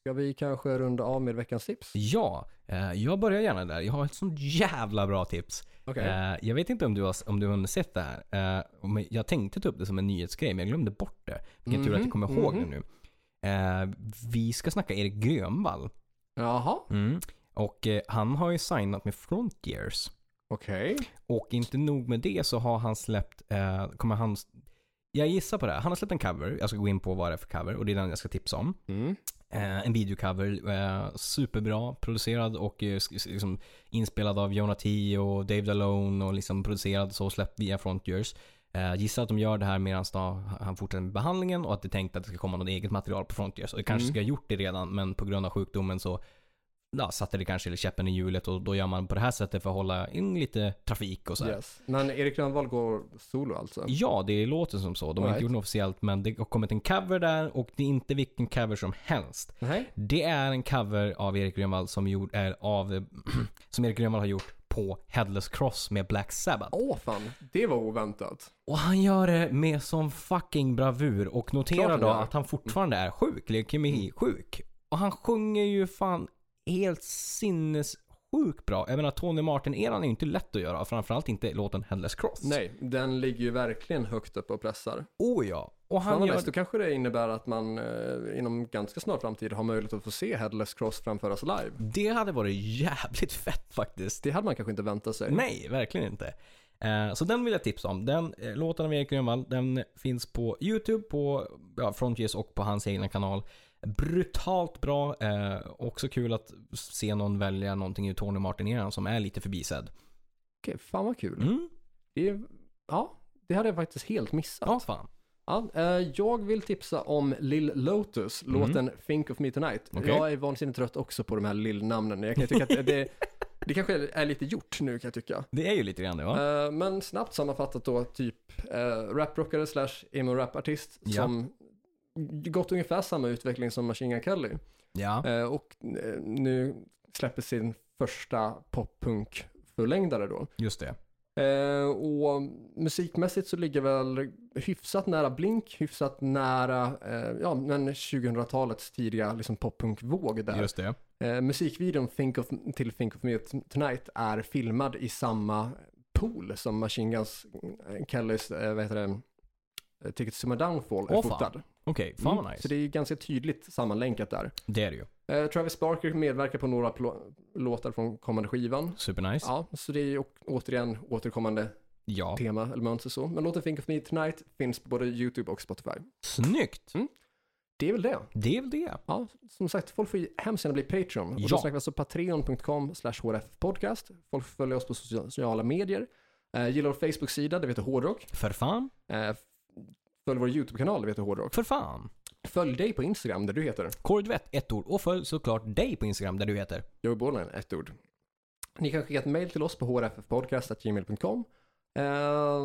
[SPEAKER 2] Ska vi kanske runda av med veckans tips?
[SPEAKER 1] Ja, eh, jag börjar gärna där. Jag har ett sånt jävla bra tips.
[SPEAKER 2] Okej.
[SPEAKER 1] Eh, jag vet inte om du har, om du har hunnit sett det här. Eh, men jag tänkte ta upp det som en nyhetsgrej, men jag glömde bort det. Vilken tur att
[SPEAKER 2] Mhm,
[SPEAKER 1] jag kommer ihåg
[SPEAKER 2] mhm.
[SPEAKER 1] det nu. Eh, vi ska snacka Erik Grönvall.
[SPEAKER 2] Jaha.
[SPEAKER 1] Och eh, han har ju signat med Frontiers.
[SPEAKER 2] Okej.
[SPEAKER 1] Och inte nog med det så har han släppt, eh, kommer han, jag gissar på det här. Han har släppt en cover, jag ska gå in på vad det är för cover och det är den jag ska tipsa om.
[SPEAKER 2] Mm.
[SPEAKER 1] Eh, en videocover, eh, superbra, producerad och eh, sk- liksom, inspelad av Jonah T och Dave Dalone och liksom producerad så och släppt via Frontiers. Eh, gissar att de gör det här medan han fortsätter med behandlingen och att det är tänkt att det ska komma något eget material på Frontiers. Och det kanske
[SPEAKER 2] Mm.
[SPEAKER 1] ska ha gjort det redan men på grund av sjukdomen så ja, satte det kanske käppen i hjulet och då gör man på det här sättet för att hålla in lite trafik och så här.
[SPEAKER 2] Yes. Men Erik Grönvall går solo alltså?
[SPEAKER 1] Ja, det låter som så. De har
[SPEAKER 2] Right.
[SPEAKER 1] inte gjort något officiellt, men det har kommit en cover där och det är inte vilken cover som helst.
[SPEAKER 2] Nej.
[SPEAKER 1] Det är en cover av Erik Grönvall som, gjord, är av, som Erik Grönvall har gjort på Headless Cross med Black Sabbath.
[SPEAKER 2] Åh fan, det var oväntat.
[SPEAKER 1] Och han gör det med sån fucking bravur och
[SPEAKER 2] Klart
[SPEAKER 1] noterar
[SPEAKER 2] han
[SPEAKER 1] då
[SPEAKER 2] gör.
[SPEAKER 1] att han fortfarande är sjuk, leukemi-sjuk. Och han sjunger ju fan helt sinnessjukt bra. Jag menar Tony Martin-eran är ju inte lätt att göra, framförallt inte låten Headless Cross.
[SPEAKER 2] Nej, den ligger ju verkligen högt upp och pressar.
[SPEAKER 1] Oh ja. Och
[SPEAKER 2] Han
[SPEAKER 1] han
[SPEAKER 2] Fan,
[SPEAKER 1] gör
[SPEAKER 2] gör... Då kanske det innebär att man eh, inom ganska snar framtid har möjlighet att få se Headless Cross framföras live.
[SPEAKER 1] Det hade varit jävligt fett faktiskt.
[SPEAKER 2] Det hade man kanske inte väntat sig.
[SPEAKER 1] Nej, verkligen inte. Eh, Så den vill jag tipsa om. Den eh, låten av Erik Grönvall, den finns på YouTube, på ja, Frontiers och på hans egna kanal. Brutalt bra. Eh, också kul att se någon välja någonting ur Tony Martin eran som är lite förbisedd.
[SPEAKER 2] Okej, fan vad kul.
[SPEAKER 1] Mm.
[SPEAKER 2] Det är... Ja, det hade jag faktiskt helt missat.
[SPEAKER 1] Ja, fan.
[SPEAKER 2] Ja, eh, jag vill tipsa om Lil Lotus, låten Think of Me Tonight.
[SPEAKER 1] Mm. Okej.
[SPEAKER 2] Jag är vansinnigt trött också på de här Lill-namnen. Jag kan tycka att det, det kanske är lite gjort nu kan jag tycka.
[SPEAKER 1] Det är ju lite grann det va?
[SPEAKER 2] Eh, men snabbt sammanfattat då, typ eh, raprockare slash emo-rapartist
[SPEAKER 1] Ja.
[SPEAKER 2] som gått ungefär samma utveckling som Machine Gun Kelly.
[SPEAKER 1] Ja.
[SPEAKER 2] Eh, och eh, nu släpper sin första poppunk-fullängdare då.
[SPEAKER 1] Just det.
[SPEAKER 2] Eh, och musikmässigt så ligger väl hyfsat nära Blink, hyfsat nära eh, ja, men 2000-talets tidiga liksom, poppunkvåg där.
[SPEAKER 1] Just det.
[SPEAKER 2] Eh, musikvideon Think of, till Think of Me Tonight är filmad i samma pool som Machine Guns eh, Kellys, eh, vad heter det, eh, Ticket to Summer Downfall är
[SPEAKER 1] Åh, fan.
[SPEAKER 2] fotad.
[SPEAKER 1] Okej, fan
[SPEAKER 2] Mm,
[SPEAKER 1] vad
[SPEAKER 2] Så
[SPEAKER 1] nice.
[SPEAKER 2] det är ju ganska tydligt sammanlänkat där.
[SPEAKER 1] Det är det ju.
[SPEAKER 2] Eh, Travis Barker medverkar på några plå- låtar från kommande skivan.
[SPEAKER 1] Supernice.
[SPEAKER 2] Ja, så det är ju å- återigen återkommande
[SPEAKER 1] Ja.
[SPEAKER 2] tema eller mönster så. Men låten Think of Me Tonight finns på både YouTube och Spotify.
[SPEAKER 1] Snyggt.
[SPEAKER 2] Det är väl det.
[SPEAKER 1] Det är väl det.
[SPEAKER 2] Ja, som sagt, folk får ju hemskt gärna bli Patreon. Och då
[SPEAKER 1] Ja.
[SPEAKER 2] snackar vi alltså patreon.com slash hrfpodcast. Folk får följa oss på sociala medier. Eh, gilla vår Facebook-sida, det heter Hårdrock.
[SPEAKER 1] För fan.
[SPEAKER 2] Eh, följ vår YouTube-kanal, det heter Hårdrock.
[SPEAKER 1] För fan.
[SPEAKER 2] Följ dig på Instagram, där du heter
[SPEAKER 1] Korridvett, ett ord. Och följ såklart dig på Instagram där du heter.
[SPEAKER 2] Joey Borland, ett ord. Ni kan skicka ett mejl till oss på hrfpodcast.gmail.com. Eh,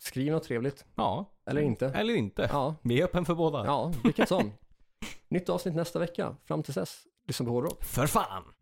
[SPEAKER 2] skriv något trevligt,
[SPEAKER 1] Ja.
[SPEAKER 2] eller inte.
[SPEAKER 1] Eller inte.
[SPEAKER 2] Ja,
[SPEAKER 1] Vi är öppen för båda.
[SPEAKER 2] ja vilket som. Nytt avsnitt nästa vecka. Fram till dess, lyssna på Hårdrock.
[SPEAKER 1] För fan!